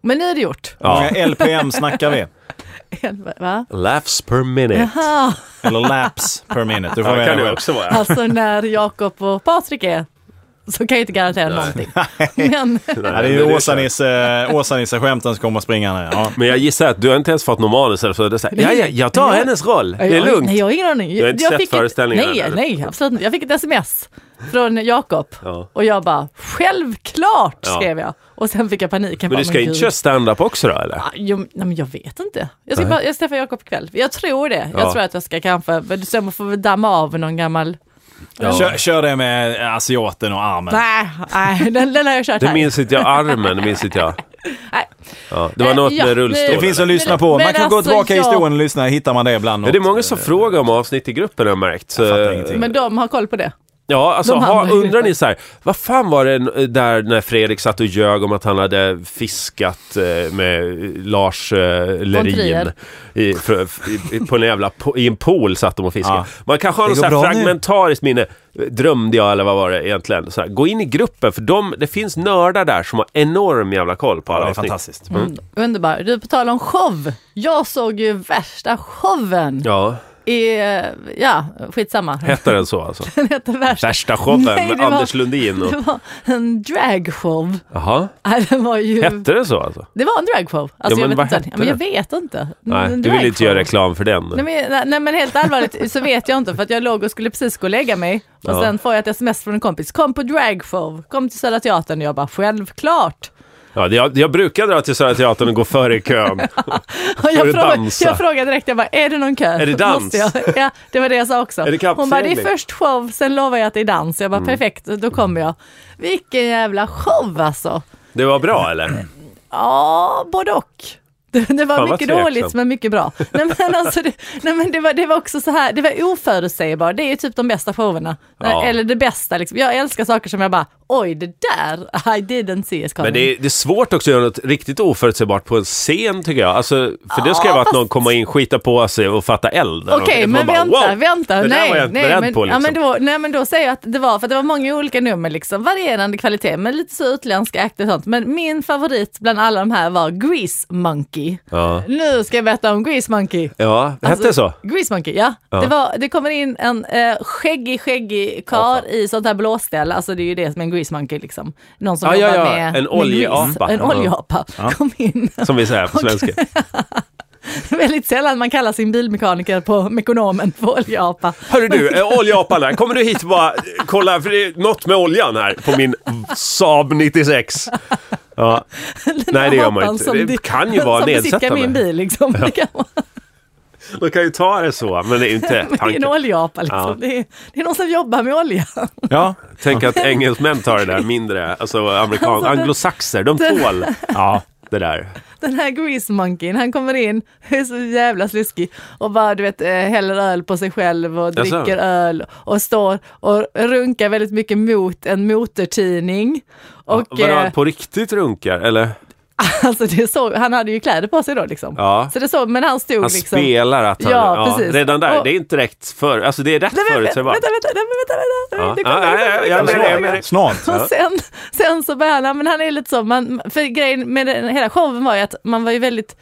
S1: Men nu är det gjort. [laughs]
S2: Hur många LPM snackar vi?
S1: Va?
S3: Laughs per minute.
S1: Jaha,
S2: Eller laps per minute. Du får
S3: Ja, det
S2: välja
S3: kan det
S2: själv.
S3: också vara.
S1: alltså när Jakob och Patrik är så kan jag inte garantera någonting. Men
S2: Ja, det är
S3: Men
S2: ju
S3: det är
S2: Åsa-Nisse- Åsa-Nisse-skämten som kommer springande. Ja.
S3: Men jag gissar att du har inte ens fått någon manus eller så. Det är så här, ja, ja, jag tar
S1: Nej.
S3: hennes roll. Det är
S1: jag,
S3: lugnt.
S1: Nej, jag har ingen aning.
S3: Du har inte
S1: jag
S3: sett
S1: fick
S3: föreställningen
S1: ett, Nej,
S3: eller?
S1: nej, absolut inte. Jag fick ett sms från Jakob
S3: Ja.
S1: och jag bara självklart
S3: Ja.
S1: skrev jag. Och sen fick jag panik. Jag
S3: Men
S1: bara,
S3: du ska inte
S1: gud.
S3: köra stand-up också då eller?
S1: Ah, Jo, nej, men jag vet inte. Jag ska
S3: Nej.
S1: bara, jag träffar Jakob ikväll. Jag tror det. Jag
S3: Ja.
S1: tror att jag ska kanske, men sen får vi damma av någon gammal,
S2: Kör, kör det med asiaten och armen.
S1: nej, nej den, den har jag kört
S3: Det
S1: här.
S3: minns inte jag. Armen minns inte jag.
S1: Nej.
S3: Ja, det var
S1: Eh,
S3: något
S1: ja,
S3: med rullstol.
S1: det-
S2: Det finns att lyssna
S1: Men-
S2: på. Man
S1: men
S2: kan gå
S1: alltså,
S2: tillbaka i
S1: jag-
S2: historien och lyssna. Hittar man det ibland.
S3: Ja, det är
S2: något.
S3: många som frågar om avsnitt i gruppen har jag märkt.
S2: Jag fattar
S3: Eh,
S2: ingenting.
S1: Men de har koll på det.
S3: Ja, alltså
S1: De
S3: ha,
S1: hamnar i
S3: undrar
S1: gruppen.
S3: ni så här, vad fan var det n- där när Fredrik satt och ljög om att han hade fiskat eh, med Lars eh, Lerin
S1: Trier.
S3: i, för, i, i- på en jävla, po- i en pool satt de och fiskade.
S2: Ja.
S3: Man kanske har
S2: Det
S3: något
S2: går
S3: så här
S2: bra nu.
S3: fragmentariskt minne, Eh, drömde jag eller vad var det egentligen? Så här, gå in i gruppen, för de, det finns nördar där som har enorm jävla koll på alla
S2: Ja, Mm. det är
S3: avsnitt.
S2: fantastiskt.
S1: Underbar. Du, på tal om show. Jag såg ju värsta showen.
S3: Ja,
S1: I, eh, ja, skitsamma. [laughs]
S3: hette den så alltså?
S1: Den heter värsta. [laughs]
S3: Värsta showen
S1: Nej,
S3: med
S1: det var-
S3: Anders Lundin
S1: [laughs]
S3: och...
S1: Det var en dragshow.
S3: Jaha,
S1: Nej, det var ju...
S3: hette det så alltså?
S1: Det var en dragshow. Alltså,
S3: Ja, men
S1: jag
S3: vad
S1: vet inte.
S3: hette
S1: Ja, Men jag
S3: det?
S1: vet inte.
S3: Nej,
S1: En
S3: du vill inte
S1: dragshow.
S3: göra reklam för den.
S1: Nej men, nej, nej men helt allvarligt så vet jag inte för att jag låg och skulle precis gå och lägga mig och
S3: Ja.
S1: sen får jag ett sms från en kompis. Kom på dragshow, kom till Södra Teatern och jag bara självklart.
S3: Ja, det- jag, jag brukar dra till Södra Teatern och gå före i
S1: Och
S3: kön.
S1: jag,
S3: du
S1: frågade,
S3: dansa?
S1: jag frågade direkt, jag bara är det någon kö?
S3: Är det dans?
S1: Måste jag? Ja, det var det jag sa också.
S3: Är det Mm.
S1: Hon bara det är
S3: kappsegling?
S1: först show, sen lovar jag att det är dans. Jag bara perfekt, då kommer jag. Vilken jävla show alltså.
S3: Det var bra eller?
S1: Ja, både och. [laughs] Det, det var
S3: Fan, vad
S1: mycket
S3: tveksam.
S1: dåligt men mycket bra. [laughs] Nej, men alltså, det, nej, men det, var, det var också så här, det var oförutsägbart. Det är ju typ de bästa showerna.
S3: Ja.
S1: Eller det bästa liksom. Jag älskar saker som jag bara, oj det där, [laughs] I didn't see it coming.
S3: Men det är, det är svårt också att göra något riktigt oförutsägbart på en scen tycker jag. Alltså, för det ska
S1: Ja,
S3: ju vara att
S1: fast-
S3: någon kommer in, skita på sig och fatta eld.
S1: Okej,
S3: Man
S1: men
S3: bara,
S1: vänta,
S3: wow,
S1: vänta.
S3: Det där
S1: nej,
S3: var jag inte
S1: nej,
S3: beredd
S1: men,
S3: på liksom.
S1: ja, men då, nej, men då säger jag att det var, för att det var många olika nummer liksom, varierande kvalitet, men lite så utländska akter och sånt. Men min favorit bland alla de här var Grease Monkey.
S3: Ja.
S1: Nu ska jag berätta om Grease Monkey.
S3: Ja,
S1: Alltså-
S3: hette det så?
S1: Grease Monkey, ja. Det, var, det kommer in en eh, skäggig, skäggig kar i sånt här blåställ. Alltså det är ju det som är en Grease Monkey liksom. Någon som
S3: Ja, ja,
S1: jobbar
S3: ja.
S1: med
S3: En
S1: med
S3: oljeapa.
S1: grease. En
S3: Ja.
S1: oljeapa kom in.
S3: Som vi säger på
S1: Okej.
S3: svenska.
S1: [laughs] Väldigt sällan man kallar sin bilmekaniker på Mekonomen för oljeapa.
S3: Hörru du, eh, oljeapan här. Kommer du hit och bara eh, kolla, för det är något med oljan här på min Saab 96. Ja. Nej, det gör man
S1: apan
S3: inte.
S1: som
S3: Det
S1: di-
S3: kan ju vara
S1: som besitter
S3: nedsättande.
S1: min bil liksom. Det kan vara
S3: De kan ju ta det så, men det är ju inte
S1: [laughs] men det är en
S3: tanken.
S1: oljeapa liksom.
S3: Ja.
S1: Det, är, det är någon som jobbar med olja.
S2: Ja,
S3: Tänk att engelsmän tar det där mindre, alltså amerikan,
S1: Alltså, den-
S3: anglosaxer, de tål ja, det där.
S1: Den här grease monkeyn, han kommer in, är så jävla sluskig och bara du vet eh, häller öl på sig själv och
S3: Jaså?
S1: dricker öl och står och runkar väldigt mycket mot en motortidning. Och
S3: Vadå, han
S1: eh,
S3: på riktigt runkar, eller?
S1: alltså det såg, han hade ju kläder på sig då liksom.
S3: Ja.
S1: Så det såg, men han stod
S3: Han
S1: liksom.
S3: spelar att han...
S1: Ja, precis.
S3: redan där,
S1: Och-
S3: det är inte direkt för... Alltså det är rätt
S1: Nej, men, vänta,
S3: förutsägbart.
S1: vänta, vänta, nej, men vänta, vänta,
S3: Ja.
S1: Det
S3: Ja,
S1: kommer,
S3: ja,
S1: det
S3: ja,
S1: kommer, det
S3: jag
S1: kommer.
S3: menar, jag menar.
S2: snart.
S1: Och sen, sen så började han, men han är lite så, man, för grejen med den, hela showen var ju att man var ju väldigt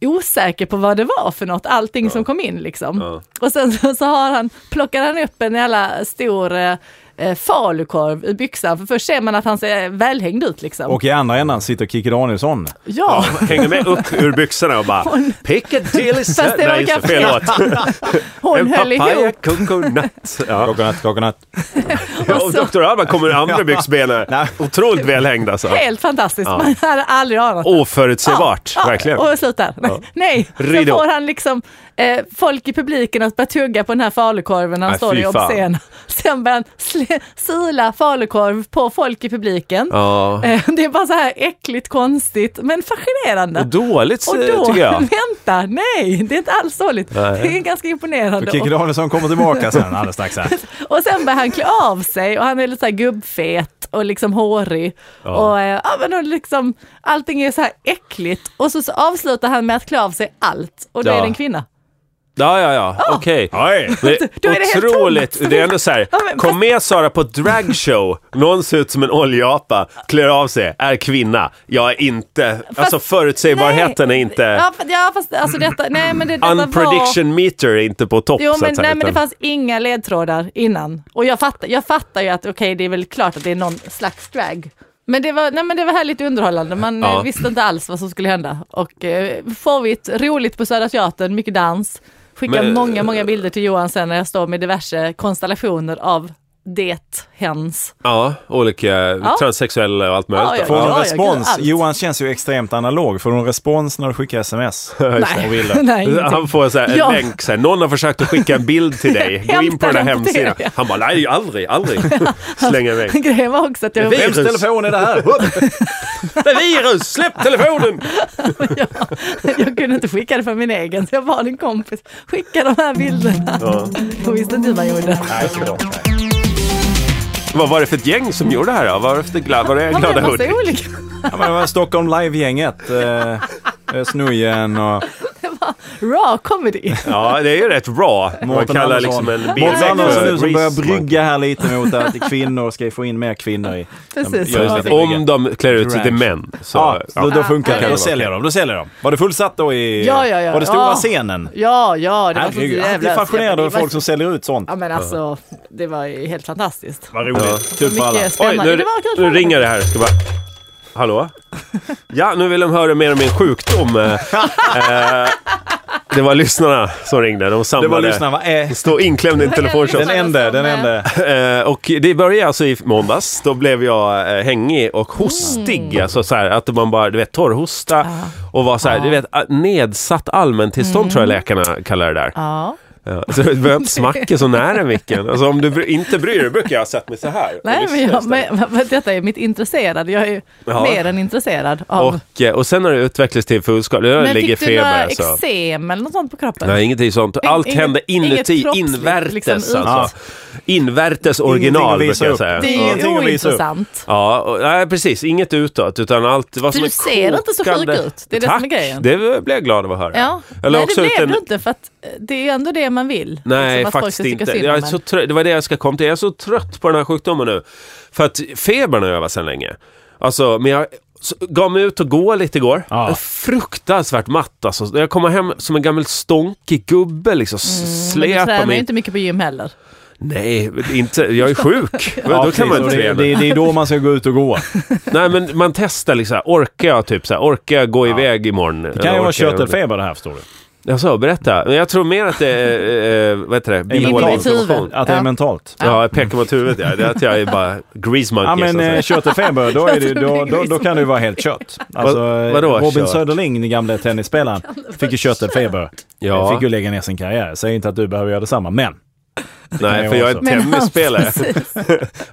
S1: osäker på vad det var för något, allting som kom in liksom. Och sen så, så har han, plockar han upp en jävla stor eh, eh, falukorv i byxan, för först ser man att han ser välhängd ut liksom.
S2: Och i andra ändan sitter Kikki Danielsson.
S1: ja.
S3: Hänger med upp ur byxorna och bara...
S1: Hon-
S3: Piccadilly
S1: Fast det
S3: Nej, just det,
S1: var
S3: fel
S1: kanske-
S3: låt.
S1: Hon
S3: En
S1: höll
S3: papaya
S1: ihop
S3: coconut.
S2: [laughs]
S3: Ja.
S2: Coconut, coconut.
S3: Ja, Och
S1: så-
S3: Dr. Alban kommer i andra byxbenen. Otroligt välhängd alltså.
S1: helt fantastiskt, man hade aldrig anat.
S3: Oförutsägbart,
S1: Ja,
S3: verkligen.
S1: Och slutar. [laughs] Nej,
S3: Ridå.
S1: så får han liksom eh, folk i publiken att börja tugga på den här falukorven när han
S3: Nej,
S1: står
S3: fy
S1: i
S3: fan.
S1: obscen. Sen börjar han sl- sila falukorv på folk i publiken.
S3: Ja.
S1: Eh, det är bara så här äckligt konstigt, men fascinerande.
S3: Och dåligt
S1: Och
S3: eh,
S1: då,
S3: tycker
S1: [laughs]
S3: jag.
S1: vänta, nej, det är inte alls dåligt.
S3: Nej.
S1: Det är ganska imponerande.
S2: Och Kikki Danielsson kommer tillbaka sen alldeles
S1: [laughs]
S2: strax här.
S1: Och sen börjar han klä av sig och han är lite så här gubbfet och liksom hårig. Och, eh, ja, men och liksom, allting är så här äckligt. Och så, så avslutar han med att klä av sig allt och då
S3: Ja.
S1: är det en kvinna.
S3: Ja, ja, ja. Okej. Det,
S1: Ah. Då är det helt
S3: otroligt.
S1: tomt.
S3: Det är ändå så här.
S1: Ja, men-
S3: Kom med Sara på dragshow. Någon ser ut som en oljeapa, klär av sig, är kvinna. Jag är inte... alltså förutsägbarheten är inte...
S1: Ja, fa- ja fast alltså detta, nej men det, detta var...
S3: Unprediction meter är inte på topp
S1: Jo
S3: så
S1: men,
S3: att säga.
S1: nej, men det
S3: utan-
S1: fanns inga ledtrådar innan. Och jag fattar, jag fattar ju att okej det är väl klart att det är någon slags drag. Men det var, nej, men det var härligt underhållande, man
S3: Ja.
S1: eh, visste inte alls vad som skulle hända. Och eh, showigt, roligt på Södra Teatern, mycket dans. Skickade
S3: Men- eh,
S1: många, många bilder till Johan sen när jag står med diverse konstellationer av det, hens.
S3: Ja, olika transsexuella och allt möjligt.
S1: Ja,
S2: Får
S1: ja,
S2: hon
S1: ja, gud,
S2: respons?
S1: allt.
S2: Johan känns ju extremt analog. Får hon respons när du skickar sms?
S1: Nej, [laughs] nej ingenting.
S3: Han får så här en
S1: Ja.
S3: länk, så här, någon har försökt att skicka en bild till dig, gå in
S1: Hämta
S3: på den här
S1: den på
S3: hemsidan.
S1: TV.
S3: Han bara, nej
S1: [laughs]
S3: aldrig, aldrig. Slänga iväg.
S1: Grejen var också att jag,
S3: Virus.
S2: Vems telefon är det här?
S3: Det är virus, släpp telefonen!
S1: jag, [laughs] jag kunde inte skicka det för min egen, så jag bad en kompis skicka de här bilderna. Hon visste inte hur man gjorde.
S3: Vad var det för ett gäng som gjorde det här då? Vad var det för gla- var det
S1: Han
S3: Glada
S1: blev
S3: Hudik?
S1: massa olika.
S2: Ja, men det var Stockholm Live-gänget. Eh, eh, Snujen och
S1: Raw comedy.
S3: Ja, det är ju rätt raw. Man
S2: Mårten
S3: kallar
S2: Andersson.
S3: liksom en bild
S2: Mårten Andersson
S3: för
S2: nu som börjar
S3: Reese.
S2: brygga här lite mot att kvinnor ska få in mer kvinnor i...
S1: Precis.
S2: Ja, just det.
S3: Om de klär ut sig till män så...
S2: Ja, då, då funkar
S3: Ja.
S2: det. Då säljer de, då säljer de. Var det fullsatt då i...
S1: Ja, ja, ja.
S2: Var det stora
S1: Ja.
S2: scenen?
S1: Ja, ja, det var så
S2: Herregud, jag
S1: jävla...
S2: är fascinerad över
S1: det var-
S2: folk som säljer ut sånt.
S1: Ja men alltså, det var ju helt fantastiskt.
S2: Vad roligt. Kul för alla.
S1: Mycket
S3: Oj,
S1: spännande.
S3: nu,
S1: det var kul
S3: nu
S1: för
S3: ringer det här. Ska bara... Hallå? Ja, nu vill de höra mer om min sjukdom. Eh, eh, det var lyssnarna som ringde. De
S2: Det var
S3: samlade.
S2: lyssnarna, va? Eh,
S3: Stod inklämd i en telefonkiosk.
S2: den enda, den enda.
S3: Eh, och det började alltså i måndags. Då blev jag eh, hängig och hostig.
S1: Mm.
S3: Alltså så här, att man bara, du vet, torrhosta och var så här, du vet, a- nedsatt allmäntillstånd tror jag läkarna kallar det där.
S1: Mm. Ja.
S3: Ja, så det började smacka så nära micken. Alltså om du bry- inte bryr dig brukar jag ha sett mig så här. och
S1: Nej men,
S3: lyssna
S1: jag,
S3: istället.
S1: men men detta är mitt intresserade. Jag är ju
S3: Ja.
S1: mer än intresserad av...
S3: Och, eh, och sen har det utvecklats till fullskada. Jag
S1: men
S3: ligger
S1: fick du några
S3: feber. Så.
S1: eksem eller något sånt på kroppen?
S3: Nej, ingenting sånt. Allt
S1: inget-
S3: hände
S1: inget
S3: inuti,
S1: kroppsligt,
S3: invärtes
S1: liksom,
S3: alltså.
S2: Ja.
S3: Invärtes
S2: Ingenting
S3: original
S2: att visa
S3: brukar jag
S2: upp.
S3: säga.
S1: Det
S2: Ja.
S1: är ju
S2: Någonting att visa upp.
S1: ointressant.
S3: Ja, och, nej precis. Inget utåt, utan allt var
S1: För
S3: som
S1: du
S3: ett
S1: ser inte så
S3: kokande-
S1: sjuk ut. Det är det
S3: Tack.
S1: som är grejen.
S3: det blev jag glad av att höra.
S1: Ja,
S3: Jag la
S1: nej
S3: också
S1: det
S3: ut
S1: blev
S3: en-
S1: du inte för att eh, det är ju ändå det man vill.
S3: Nej,
S1: liksom, att folk
S3: faktiskt
S1: ska tycka
S3: inte.
S1: synd om
S3: Jag är
S1: en.
S3: så trött, det var det jag ska komma till. Jag är så trött på den här sjukdomen nu. För att febern har jag varit sedan länge. Alltså, men jag s- gav mig ut och gå lite igår. Jag är Fruktansvärt matt alltså. Jag kommer hem som en gammal stonkig gubbe liksom. s-
S1: Mm, Men du
S3: Släpar
S1: tränar ju
S3: mig.
S1: inte mycket på gym heller.
S3: Nej, inte. Jag
S1: [laughs]
S3: är sjuk.
S2: Ja,
S3: Då kan
S2: precis.
S3: man
S2: Och
S3: inte
S2: det,
S3: träna.
S2: det, det är då man ska gå ut och gå.
S3: Nej, men man testar liksom. Orkar jag typ så här? Orkar jag gå iväg imorgon?
S2: Det kan ju vara körtelfeber det här förstår du.
S3: Jag sa berätta. Men jag tror mer att det är, eh, vad heter det,
S2: Inne i
S3: bipolar
S1: ditt huvud.
S3: information.
S2: Att det är
S1: Ja.
S2: mentalt.
S3: Ja, jag pekar mot huvudet ja. Det är att jag är bara grease monkey.
S2: Ja men
S3: så att
S2: eh,
S3: säga.
S2: körtelfeber, då, är det,
S1: Jag tror
S2: då,
S1: det liksom är
S2: då, då kan det ju vara
S1: [laughs]
S2: helt kött. Alltså, eh,
S3: vadå
S2: Robin
S3: kört?
S2: Söderling, den gamle tennisspelaren, fick ju körtelfeber.
S3: Ja.
S2: Fick ju lägga ner sin karriär. Säg inte att du behöver göra detsamma, men.
S3: Nej,
S2: jag
S3: för jag är
S2: också.
S1: Men
S3: tennisspelare.
S1: precis.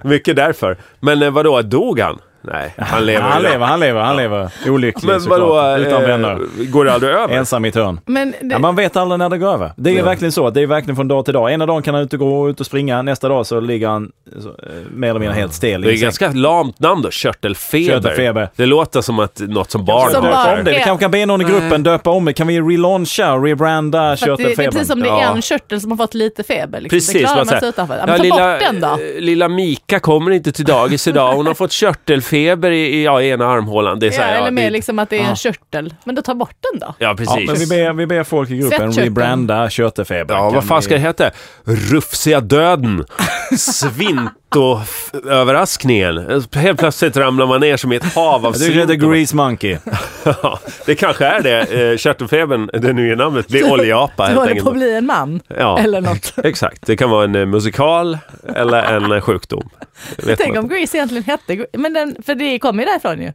S3: Mycket därför. Men eh, vadå, dog han? Nej, han lever.
S2: Han
S3: idag.
S2: lever, han lever, han lever. Olycklig
S3: Men
S2: såklart.
S3: vadå, eh,
S2: Utan vänner.
S3: går det aldrig över?
S2: Ensam i ett hörn.
S1: Men det,
S2: Ja, man vet aldrig när det går över. Det är verkligen så. att Det är verkligen från dag till dag. Ena dagen kan han ut och gå ut och springa. Nästa dag så ligger han så, eh, mer eller mindre helt stel.
S3: Det är
S2: i
S3: ett
S2: säng.
S3: ganska lamt namn då, körtelfeber.
S2: Körtelfeber.
S3: Det låter som att något som barn
S1: Som barn.
S3: har.
S2: Döpa
S3: så här.
S2: om det. Vi kanske kan be någon i gruppen döpa om det. Kan vi relauncha, rebranda
S1: för att det, det är precis som
S2: körtelfebern?
S1: det är
S3: Ja.
S1: en körtel som har fått lite feber. Liksom.
S3: Precis,
S1: det klarar
S3: man
S1: man sig
S3: säger,
S1: utanför. Ja,
S3: ja,
S1: men ta
S3: lilla,
S1: bort den då.
S3: eh, Lilla Mika kommer inte till dagis idag. Hon har fått körtelfeber i, i, ja, i ena armhålan. Det är så
S1: Ja,
S3: här,
S1: eller
S3: ja,
S1: mer
S3: det,
S1: liksom att det är en körtel. Men då ta bort den då.
S3: ja,
S2: Ja,
S3: precis.
S2: men vi ber, vi ber folk i gruppen
S1: Svettkötteln.
S2: rebranda körtelfebern.
S3: Ja,
S2: Kan
S3: vad fan ska
S2: vi-
S3: det heta? Rufsiga döden. Svinto-överraskningen. Helt plötsligt ramlar man ner som i ett hav av
S2: Jag tycker det heter
S3: svinto.
S2: Grease Monkey.
S3: Ja, det kanske är det. Eh, Körtelfebern, det nya namnet, blir oljeapa
S1: Du
S3: helt
S1: håller på att
S3: enkelt.
S1: bli en man.
S3: Ja.
S1: Eller
S3: [laughs]
S1: något.
S3: Exakt, det kan vara en eh, musikal eller en eh, sjukdom. Vet
S1: Tänk
S3: man
S1: om Grease egentligen hette Gre- Men den, för det kommer ju därifrån ju.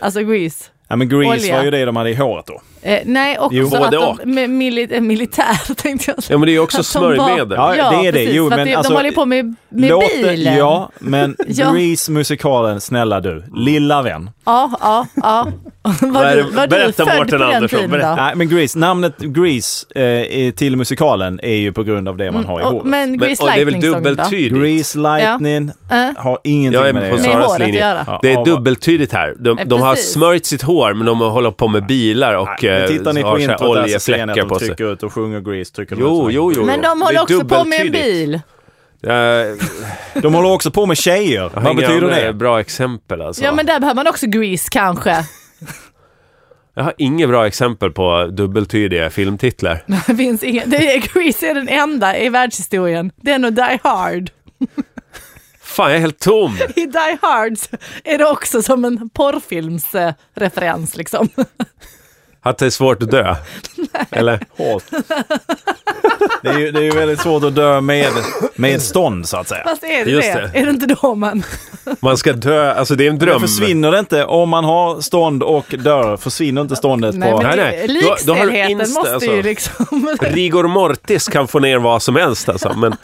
S1: Alltså Grease.
S2: Ja, men Grease
S1: Olja.
S2: var ju det de hade i håret då.
S1: Eh, nej, också
S2: Jo,
S1: att
S3: både
S1: de,
S3: och.
S1: med mili, eh, militär [laughs] tänkte jag säga.
S3: Ja men det är
S1: [laughs]
S3: ju också
S1: Att de var-
S3: smörjmedel.
S2: Ja, det är det.
S1: precis,
S2: Jo,
S1: för att
S2: men
S1: det,
S2: alltså-
S1: de håller ju på med, med
S2: Låt det-
S1: bilen.
S2: Ja, men
S1: [laughs] Ja.
S2: Grease-musikalen, snälla du. Lilla vän.
S1: ja, ja. ja. [laughs] Var,
S3: är
S1: du,
S3: det-
S1: var du
S3: berätta,
S1: född
S3: Mårten
S1: på den
S3: Andersson,
S1: tiden
S3: berätta.
S1: då?
S2: Nej, men Grease. Namnet Grease eh, är- till musikalen är ju på grund av det man har i
S1: Mm, Och,
S2: håret.
S1: men
S3: Men,
S1: Grease
S3: och det är väl
S1: Lightning Song då?
S3: dubbeltydigt?
S2: Grease Lightning
S1: Ja. Äh?
S2: har ingenting
S3: Jag är
S2: med det
S3: på
S2: att
S1: Med
S2: göra.
S3: Saras
S1: håret att
S3: linje.
S1: göra.
S2: Ja.
S3: Det är dubbeltydigt här. De,
S1: Ja,
S3: de har
S1: precis.
S3: smörjt sitt hår men de håller på med bilar och
S2: Nej, men
S3: eh,
S2: Tittar ni
S3: har
S2: på
S3: så här
S2: introt där så ser ni att
S3: oljefläckar
S2: de
S3: på sig.
S2: trycker ut och sjunger Grease. Trycker de ut
S3: Jo,
S2: så här.
S3: jo, jo.
S1: Men de
S3: Det
S1: håller
S3: är
S1: också på med en
S3: dubbeltydigt.
S1: bil.
S3: Eh,
S2: De håller också på med tjejer.
S3: Jag har
S2: Vad
S3: inga
S2: betyder
S3: andra
S2: det?
S3: Bra exempel alltså.
S1: Ja men där behöver man också Grease
S3: [laughs]
S1: kanske.
S3: Jag har inget bra exempel på dubbeltydiga filmtitlar.
S1: Det finns ingen, det är, Grease är den enda i världshistorien. Den och Die Hard.
S3: Fan, jag är helt tom.
S1: I Die Hard så är det också som en porrfilmsreferens liksom.
S3: Att det är svårt
S1: [laughs]
S3: att dö? Eller?
S2: Hårt. Det är ju, det är ju väldigt svårt att dö med, med stånd så att säga.
S1: Fast är det
S3: Just
S1: det?
S3: det.
S1: Är det inte då man...
S3: Man ska dö, alltså det är en dröm.
S2: Men försvinner det inte om man har stånd och dör? Försvinner inte ståndet
S1: Nej,
S2: på...
S1: men
S3: Nej,
S1: det-
S3: nej. Då- då har du
S1: likställdheten
S3: insta-
S1: måste
S3: alltså.
S1: ju
S3: [laughs]
S1: liksom...
S3: Rigor mortis kan få ner vad som helst alltså. Men,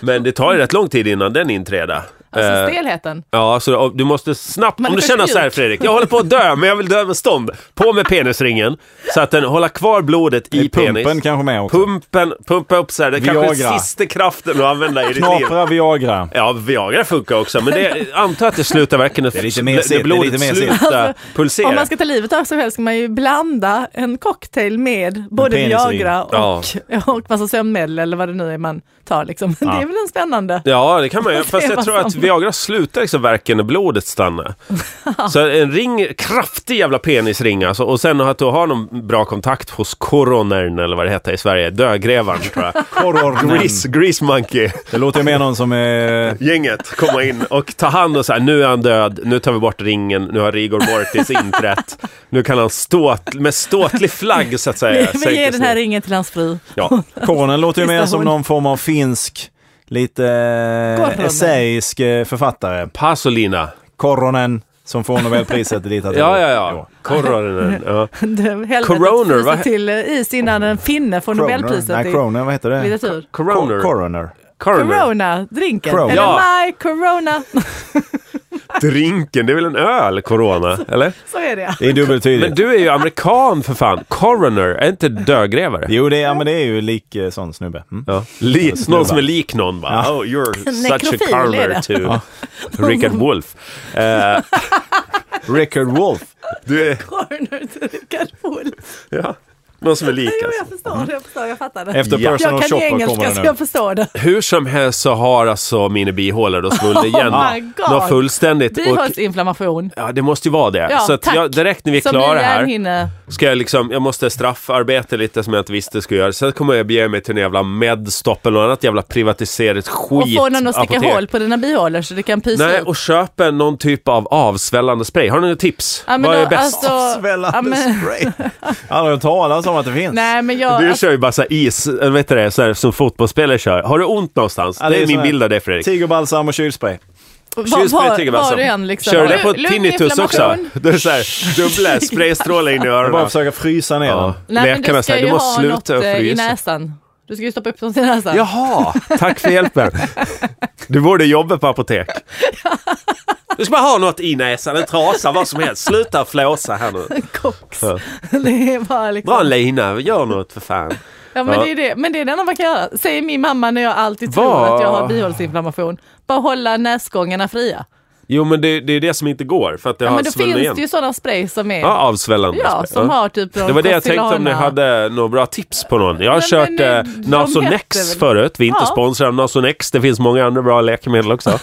S3: men det tar ju rätt lång tid innan den inträder.
S1: [laughs] alltså
S3: Eh,
S1: stelheten.
S3: Ja, så och du måste snabbt,
S1: Man
S3: om
S1: är
S3: du
S1: för
S3: känner så här
S1: mjuk.
S3: Fredrik, jag håller på att dö men jag vill dö med stånd. På med penisringen så att den håller kvar blodet i,
S2: I pumpen
S3: penis.
S2: kanske med också.
S3: Pumpen, pumpa upp så här, det är kanske är
S2: Viagra.
S3: sista kraften att använda i ditt liv.
S2: Knapra Viagra.
S3: Ja, Viagra funkar också, men det, anta att det slutar verkligen när, det
S2: lite mer sill, det är
S3: blodet
S2: lite mer sill.
S3: slutar pulsera.
S1: Alltså, Om man ska ta livet av sig själv ska man ju blanda en cocktail med både
S2: penisring.
S1: Viagra och, och massa sömnmedel eller vad det nu är man tar liksom. [laughs] Det är väl en spännande...
S3: Ja, det kan man ju.
S1: Och [laughs] se
S3: Fast jag
S1: vad
S3: tror att
S1: som-
S3: Viagra slutar liksom verken när
S1: [laughs]
S3: blodet stannar. Så en ring, kraftig jävla penisring alltså, och sen att du har någon bra kontakt hos coronern eller vad det heter i Sverige, dödgrävaren tror [laughs] jag.
S2: Korornen.
S3: Grease, grease monkey
S2: Mm. Det låter ju mer någon som är...
S3: gänget komma in och ta hand och så här, nu är han död, nu tar vi bort ringen, nu har Rigor Mortis inträtt, nu kan han stå med ståtlig flagg så
S1: [laughs]
S3: att säga.
S1: Vi ger
S3: sänkas
S1: den här
S3: ner.
S1: ringen till hans fru. [laughs]
S3: Ja,
S2: Koronen låter ju
S1: Visst är
S2: mer som
S1: hon.
S2: någon form av finsk, lite eh,
S1: Koronen.
S2: essäisk eh, författare.
S3: Pasolina.
S2: Koronen som får Nobelpriset i litteratur.
S3: Ja, ja, ja. Coronern. Ja. Coroner,
S1: Helvetet
S3: vad-
S1: fryser till eh, is innan en finne får
S2: Kroner.
S1: Nobelpriset
S2: Nej,
S1: i
S2: Kroner, vad heter det?
S1: litteratur.
S2: Ko-
S3: Coroner.
S2: Coroner.
S3: Coroner.
S1: Corona, drinken.
S2: Corona.
S1: Eller
S3: Ja.
S1: my corona. [laughs]
S3: Drinken, det är väl en öl, corona? Eller?
S1: Så är det.
S2: Det är dubbeltydigt.
S3: Men du är ju amerikan för fan. Coroner, är inte dödgrävare?
S2: Jo, det är, ja, men det är ju lik eh, sån snubbe. Mm.
S3: Ja. Li-
S2: snubbar.
S3: någon som är lik någon bara.
S2: Ja.
S3: Oh,
S1: [laughs]
S3: you're such a
S1: Nekrofil är
S3: coroner
S1: det.
S3: to Richard Wolff. [laughs] Eh,
S2: Rickard Wolf.
S3: du är,
S1: Corner till Rickard Wolff.
S3: ja, någon som är lik
S1: Jo,
S3: alltså.
S1: jag förstår, jag förstår, jag fattar det.
S2: Efter
S3: Ja.
S2: Personal
S1: Jag kan ju
S2: Shopper kommer
S1: engelska
S2: det
S1: så
S2: nu.
S1: jag förstår det.
S3: Hur som helst så har alltså mina bihålor
S1: [laughs]
S3: då svullit igen.
S1: Oh my God.
S3: Nå, fullständigt. Och,
S1: Bihåleinflammation.
S3: ja, det måste ju vara det.
S1: Ja,
S3: så att
S1: tack.
S3: jag, direkt när vi är
S1: Som
S3: klara
S1: ny
S3: här
S1: hjärnhinne.
S3: ska jag liksom, jag måste straffarbeta lite som jag inte visste skulle göra. Sen kommer jag bege mig till en jävla Medstop eller något annat jävla privatiserat skit.
S1: Och få någon att sticka
S3: apotek.
S1: hål på dina bihålor så det kan pysa
S3: Nej,
S1: ut.
S3: och köpa någon typ av avsvällande spray. Har ni några tips?
S1: Ja, men
S3: Vad
S1: då,
S3: är bäst?
S1: alltså-
S2: Svällande
S1: Ja, men-
S2: [laughs] spray. Aldrig hört talas om att det finns.
S1: Nej, men jag...
S3: Du
S1: alltså,
S3: kör ju bara så här is, eller vet du det, så här, som fotbollsspelare kör. Har du ont någonstans?
S2: Ja,
S3: det, är
S2: sån
S3: min
S2: här
S3: bild av det Fredrik.
S2: Tigerbalsam och kylspray.
S1: alltså, var,
S3: Kylspray,
S1: var, var
S3: tigerbalsam.
S1: du än liksom.
S3: alltså. Kör du det på
S1: Lugn
S3: tinnitus också?
S1: inflammation.
S3: Det är
S1: [laughs]
S3: så här, dubbla spraystrålar in i
S2: Jag bara
S3: öronen.
S2: försöka frysa ner
S3: Ja.
S2: den.
S1: Nej, men
S3: Läkarna
S1: du ska
S3: säger
S1: ju
S3: du måste
S1: ha något
S3: sluta
S1: eh, i
S3: frysa.
S1: näsan. Du ska ju stoppa upp något i näsan.
S3: Jaha, tack för hjälpen. Du borde jobba på apotek. Du ska bara ha något i näsan, en trasa, vad som helst. Sluta flåsa här nu.
S1: [laughs] Koks.
S3: Ja.
S1: [laughs] Det är bara liksom...
S3: Dra en lina, gör något för fan.
S1: Ja, men,
S3: Ja.
S1: Det är det. men det är det enda man kan göra, säger min mamma när jag alltid
S3: Vad?
S1: tror att jag har bihåleinflammation. Bara hålla näsgångarna fria.
S3: Jo men det, det är det som inte går för att det
S1: Ja,
S3: har
S1: men då
S3: svullnat
S1: finns
S3: igen.
S1: det ju sådana spray som är,
S3: Ja,
S1: ja,
S3: avsvällande. spray.
S1: som
S3: Ja.
S1: har typ
S3: Det var det jag tänkte om ni hade några bra tips på någon. Jag har
S1: Nej,
S3: kört
S1: men, eh,
S3: eh,
S1: de
S3: Nasonex
S1: heter väl-
S3: förut. Vi är inte
S1: Ja.
S3: sponsrade av Nasonex. Det finns många andra bra
S1: [laughs]
S3: läkemedel också.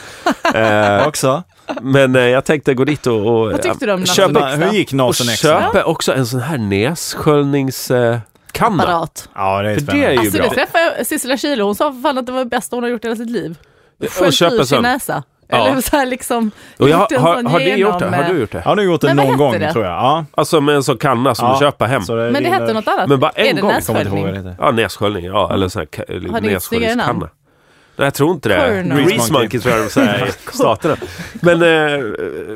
S3: eh,
S2: Också.
S3: men eh, jag tänkte gå dit och, och
S1: Vad tyckte du om
S3: köpa,
S1: Nasonex?
S2: Men, hur gick
S3: och
S2: Nasen extra?
S3: köpa också en sån här nässköljningskanna. Eh, kanna.
S1: Apparat.
S2: Ja, det är
S3: För det är
S2: spännande.
S3: ju
S1: Alltså
S3: bra.
S1: det träffade jag Sissela Kyle hon sa för fan att det var det bästa hon har gjort i hela sitt liv. Sköljt
S3: köpa
S1: ur sin
S3: sån.
S1: näsa.
S3: Ja.
S1: Eller så här liksom.
S3: och jag,
S1: gjort en
S3: har,
S1: sån
S3: har, det gjort det?
S1: genom,
S3: har du
S1: eh,
S3: gjort det?
S2: Har du gjort det
S1: Men vad
S2: någon
S1: hette
S2: gång
S1: det?
S2: tror jag? Ja.
S3: Alltså med en sån kanna som
S2: ja.
S3: du köper hem.
S2: Så det
S1: Men det
S2: rinner-
S1: hette något annat.
S3: Men bara en
S1: är det
S3: gång.
S2: Kommer inte ihåg vad det
S1: nässköljning?
S2: heter.
S3: Ja, nässköljning. Ja, eller sån här
S1: Har
S3: ka-
S1: ni ett snyggare namn?
S3: nässköljningskanna. Nej, jag tror inte det.
S1: Corner.
S3: Grease
S2: Grease
S3: Monkey
S2: Monkey
S3: tror jag de [laughs] säger i staterna. Men eh,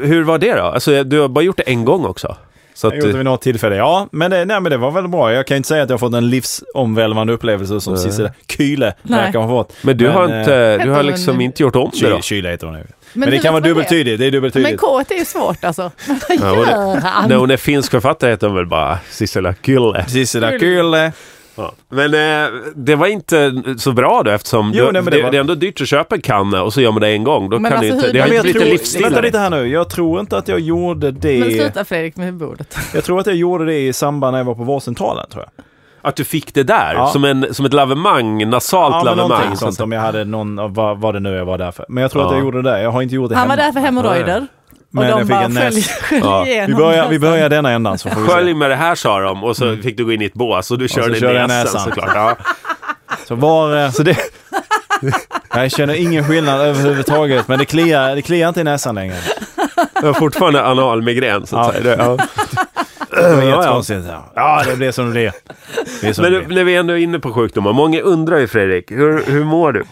S3: hur var det då? Alltså, du har bara gjort det en gång också. Så att,
S2: Jag gjorde det vid något tillfälle. Ja, men det, nej, men det var väl bra. Jag kan ju inte säga att jag har fått en livsomvälvande upplevelse som Sissela Kyle
S1: Nej.
S2: verkar ha fått.
S3: men du har,
S2: eh,
S3: inte, du har
S1: hon-
S3: liksom inte gjort om det då?
S2: Ky- Kyle heter hon nu. Men, det
S1: hur
S2: kan vara
S1: var det?
S2: dubbeltydigt. Det är
S1: Men
S2: dubbeltydigt.
S1: K är ju svårt alltså. Men vad
S3: Ja, och
S1: gör han?
S3: När hon är finsk författare heter hon väl bara Sissela Kylle.
S2: Sissela Kyle.
S3: Ja. Men eh, det var inte så bra då eftersom
S2: Jo,
S3: du,
S2: nej, men
S3: det,
S2: det
S3: det,
S2: var-
S3: är ändå dyrt att köpa en kanna och så gör man det en gång. Då
S1: Men
S3: kan
S1: alltså,
S3: det, inte,
S1: hur-
S3: det har
S1: Men
S3: inte
S1: jag
S3: blivit
S1: tror-
S3: en
S2: Vänta
S3: livsstil.
S2: lite här nu. Jag tror inte att jag gjorde
S1: Men
S2: det.
S1: sluta Fredrik med bordet.
S2: Jag tror att jag gjorde det i samband när jag var på vårdcentralen tror jag.
S3: Att du fick det där,
S2: Ja.
S3: som, en, som ett lavemang, nasalt
S2: Ja, men
S3: lavemang.
S2: någonting
S3: Så att-
S2: sånt om jag hade någon, av vad, vad det nu jag var där för. Men jag tror att
S3: Ja.
S2: jag gjorde det där. Jag har inte gjort det
S1: Han
S2: hemma.
S1: var där för hemorrojder. Och
S2: Men jag
S1: de
S2: fick
S1: bara
S2: en näs-
S1: skölj skölj
S2: Vi
S1: igenom.
S2: börjar, vi börjar denna ändan så får vi
S3: Skölj
S2: se.
S3: med det här sa de och så fick du gå in i ett bås och du körde i
S2: Mm. körde jag
S3: näsan,
S2: näsan.
S3: såklart. Ja.
S2: Så var, eh, så det... Jag känner ingen skillnad överhuvudtaget, men det kliar, det kliar inte i näsan längre.
S3: Jag har fortfarande analmigrän så att
S2: Ja.
S3: säga. Det, ja.
S2: Det var
S3: ja.
S2: jättekonstigt. Ja. ja, det blev som det blev. Det är som
S3: Men
S2: det
S3: nu-
S2: blev.
S3: när vi ändå är inne på sjukdomar, många undrar ju Fredrik, hur, hur mår du?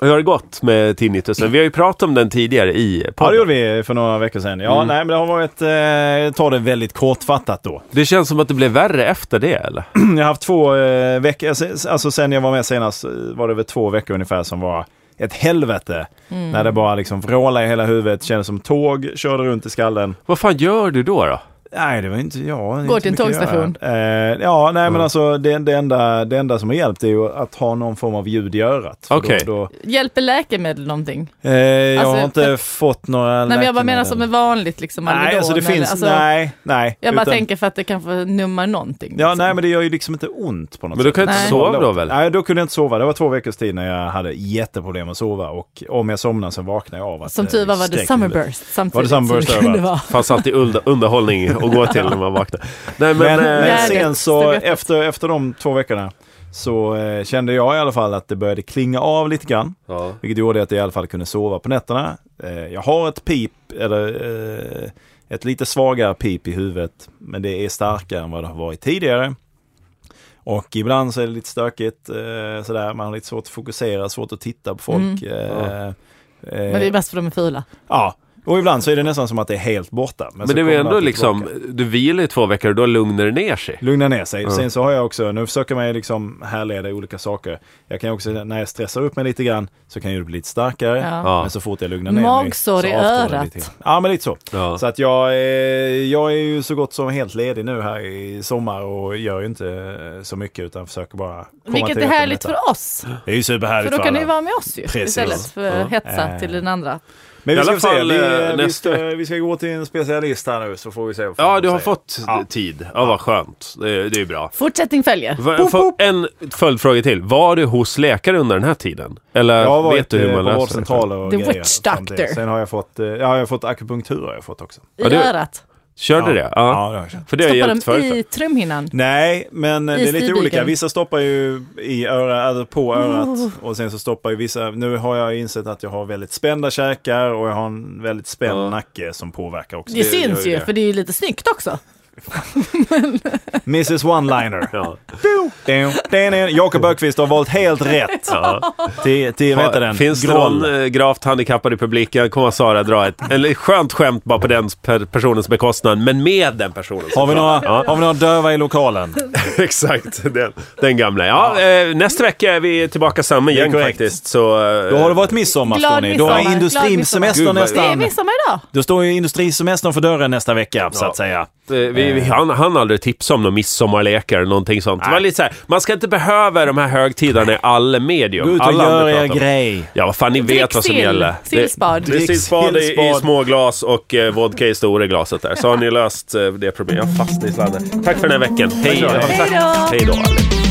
S3: Hur har det gått med tinnitusen? Vi har ju pratat om den tidigare i
S2: Ja, det
S3: podden.
S2: gjorde vi för några veckor sedan. Ja, nej, men det har varit... Eh, ta det väldigt kortfattat då. [clears throat]
S3: det känns som att det blev värre efter det, eller?
S2: Jag har haft två eh, veckor, alltså- alltså sen jag var med senast eh, var det väl två veckor ungefär som var ett helvete. När det bara liksom vrålade i hela huvudet, kändes som tåg, körde runt i skallen.
S3: Vad fan gör du då? då?
S2: Nej, det var inte jag.
S1: Går till en tågstation.
S2: Eh, ja, nej men alltså det, det, enda, det enda som har hjälpt är ju att ha någon form av ljud i örat. För
S3: Okej.
S2: Då, då,
S1: Hjälper läkemedel någonting?
S2: eh, jag
S1: Alltså,
S2: har inte
S1: för-
S2: fått
S1: Nej,
S2: några
S1: men jag bara
S2: läkemedel.
S1: menar som är vanligt, liksom
S2: Nej,
S1: Alvedon
S2: alltså det
S1: eller-
S2: finns,
S1: alltså,
S2: nej, nej.
S1: Jag bara
S2: utan-
S1: tänker för att det kanske nummar någonting.
S2: Ja,
S1: liksom.
S2: nej men det gör ju liksom inte ont på något
S3: Men
S2: sätt.
S3: du kan ju inte
S1: Nej.
S3: sova då väl?
S2: Nej, då kunde jag inte sova. Det var två veckors tid när jag hade jätteproblem att sova och om jag somnade så vaknade jag av att eh,
S1: Som tur var var det
S2: sträck-
S1: Summerburst samtidigt.
S2: Var det Summerburst
S1: som det kunde
S2: överallt? Eh,
S1: vara.
S3: fanns alltid uld- underhållning att gå till när man vaknar. Nej, men,
S2: Men, men
S3: eh,
S1: Nej, det
S2: sen så
S1: stod öppet.
S2: efter, efter de två veckorna så eh, kände jag i alla fall att det började klinga av lite grann.
S3: ja.
S2: Vilket gjorde att jag i alla fall kunde sova på nätterna. Eh, jag har ett pip, eller eh, ett lite svagare pip i huvudet. Men det är starkare än vad det har varit tidigare. Och ibland så är det lite stökigt eh, sådär. Man har lite svårt att fokusera, svårt att titta på folk. Eh, eh,
S1: Mm. Men det är bäst för de är fula.
S2: Ja, och ibland så är det nästan som att det är helt borta. så
S3: men det är
S2: kommer
S3: ju ändå
S2: alltid
S3: liksom,
S2: tillbaka.
S3: du vilar i två veckor och då lugnar det ner sig.
S2: Lugna ner sig. Sen så har jag också, nu försöker man ju liksom härleda olika saker. Jag kan ju också, när jag stressar upp mig lite grann så kan ju det bli lite starkare.
S1: Ja.
S2: Men så fort jag lugnar ner mig.
S1: Magsår
S2: så
S1: i
S2: avtar det
S1: örat.
S2: lite grann. Ja, men lite så.
S3: Ja.
S2: Så att jag, eh, jag är ju så gott som helt ledig nu här i sommar och gör ju inte eh, så mycket utan försöker bara komma
S1: Vilket är
S2: till rätta med
S1: härligt
S2: detta.
S1: för oss.
S2: Det är ju
S1: För
S2: superhärligt
S1: då kan ni
S2: alla.
S1: ju vara med oss ju.
S2: Precis.
S1: Istället för att hetsa
S2: Eh.
S1: till den andra.
S2: Men
S3: I
S2: vi
S3: alla
S2: ska se,
S3: fall,
S2: vi,
S3: eh,
S2: eh, vi,
S3: nästa
S2: ska, vi ska gå till en specialist här nu så får vi se. vad
S3: Ja,
S2: fan
S3: du
S2: hon
S3: har
S2: säger.
S3: fått
S2: Ja.
S3: tid. Ja, vad skönt. Det, är- det är bra.
S1: Fortsättning följer.
S3: Va- för- En följdfråga till. Var du hos läkare under den här tiden? Eller
S2: Jag har varit
S3: vet du hur man
S2: eh, på
S3: löser det?
S2: vårdcentraler och
S1: The
S2: grejer.
S1: witch
S2: fram till.
S1: doctor.
S2: Sen har jag fått, eh, ja, jag har fått akupunktur har jag fått också.
S1: I
S3: Ja, det-
S1: örat.
S3: Körde det? Ja.
S2: det har jag känt.
S3: För det har hjälpt
S1: Stoppa dem
S3: förut.
S1: i trumhinnan.
S2: Nej, men eh, det är lite
S1: stigbygeln.
S2: olika. Vissa stoppar ju i öra, eller
S1: Oh.
S2: på örat och sen så stoppar ju vissa. Nu har jag insett att jag har väldigt spända käkar och jag har en väldigt spänd nacke som påverkar också.
S1: Det, syns ju, för det är ju lite snyggt också.
S2: Mrs One-Liner.
S3: [laughs] Ja.
S2: Dun, dun, dun. Jakob Ökvist har valt helt rätt. Till, till vad heter den?
S3: Finns det
S2: Groll.
S3: någon eh, gravt handikappad i publiken kommer Sara dra ett eller skönt skämt bara på den per personens bekostnad, men med den personen.
S2: Har vi, några, har vi några döva i lokalen?
S3: [laughs] Exakt, den, den gamla. Ja, Eh, nästa vecka är vi tillbaka samma
S2: är
S3: gäng
S2: korrekt.
S3: faktiskt. Så, eh,
S2: Då har det varit midsommar
S1: Glad
S2: står ni. Då
S1: midsommar,
S2: är
S1: glad
S2: industrisemestern
S1: midsommar.
S3: Gud, vad-
S1: Det är
S2: nästan.
S1: midsommar idag.
S2: Då står ju industrisemestern för dörren nästa vecka så att säga.
S3: Eh, Vi, vi, han, han aldrig tipsa om någon midsommarlekar eller någonting sånt. Det var lite så här, man ska inte behöva de här högtiderna i alla medium.
S2: Gå ut och
S3: alla
S2: gör
S3: andra
S2: er
S3: pratar om-
S2: grej.
S3: Ja, vad fan, ni vet
S1: Drick
S3: vad som
S1: sill.
S3: gäller.
S1: Sillspad.
S3: Det, det är
S2: Drick
S3: sillspad i, i
S2: sillspad.
S3: små glas och eh, vodka i stora glaset där. Så har ni löst eh, det problemet. Jag fastnade i sladden. Tack för den här veckan. Hej,
S2: Tack så mycket.
S1: Hej då.
S3: Hej då. Alex.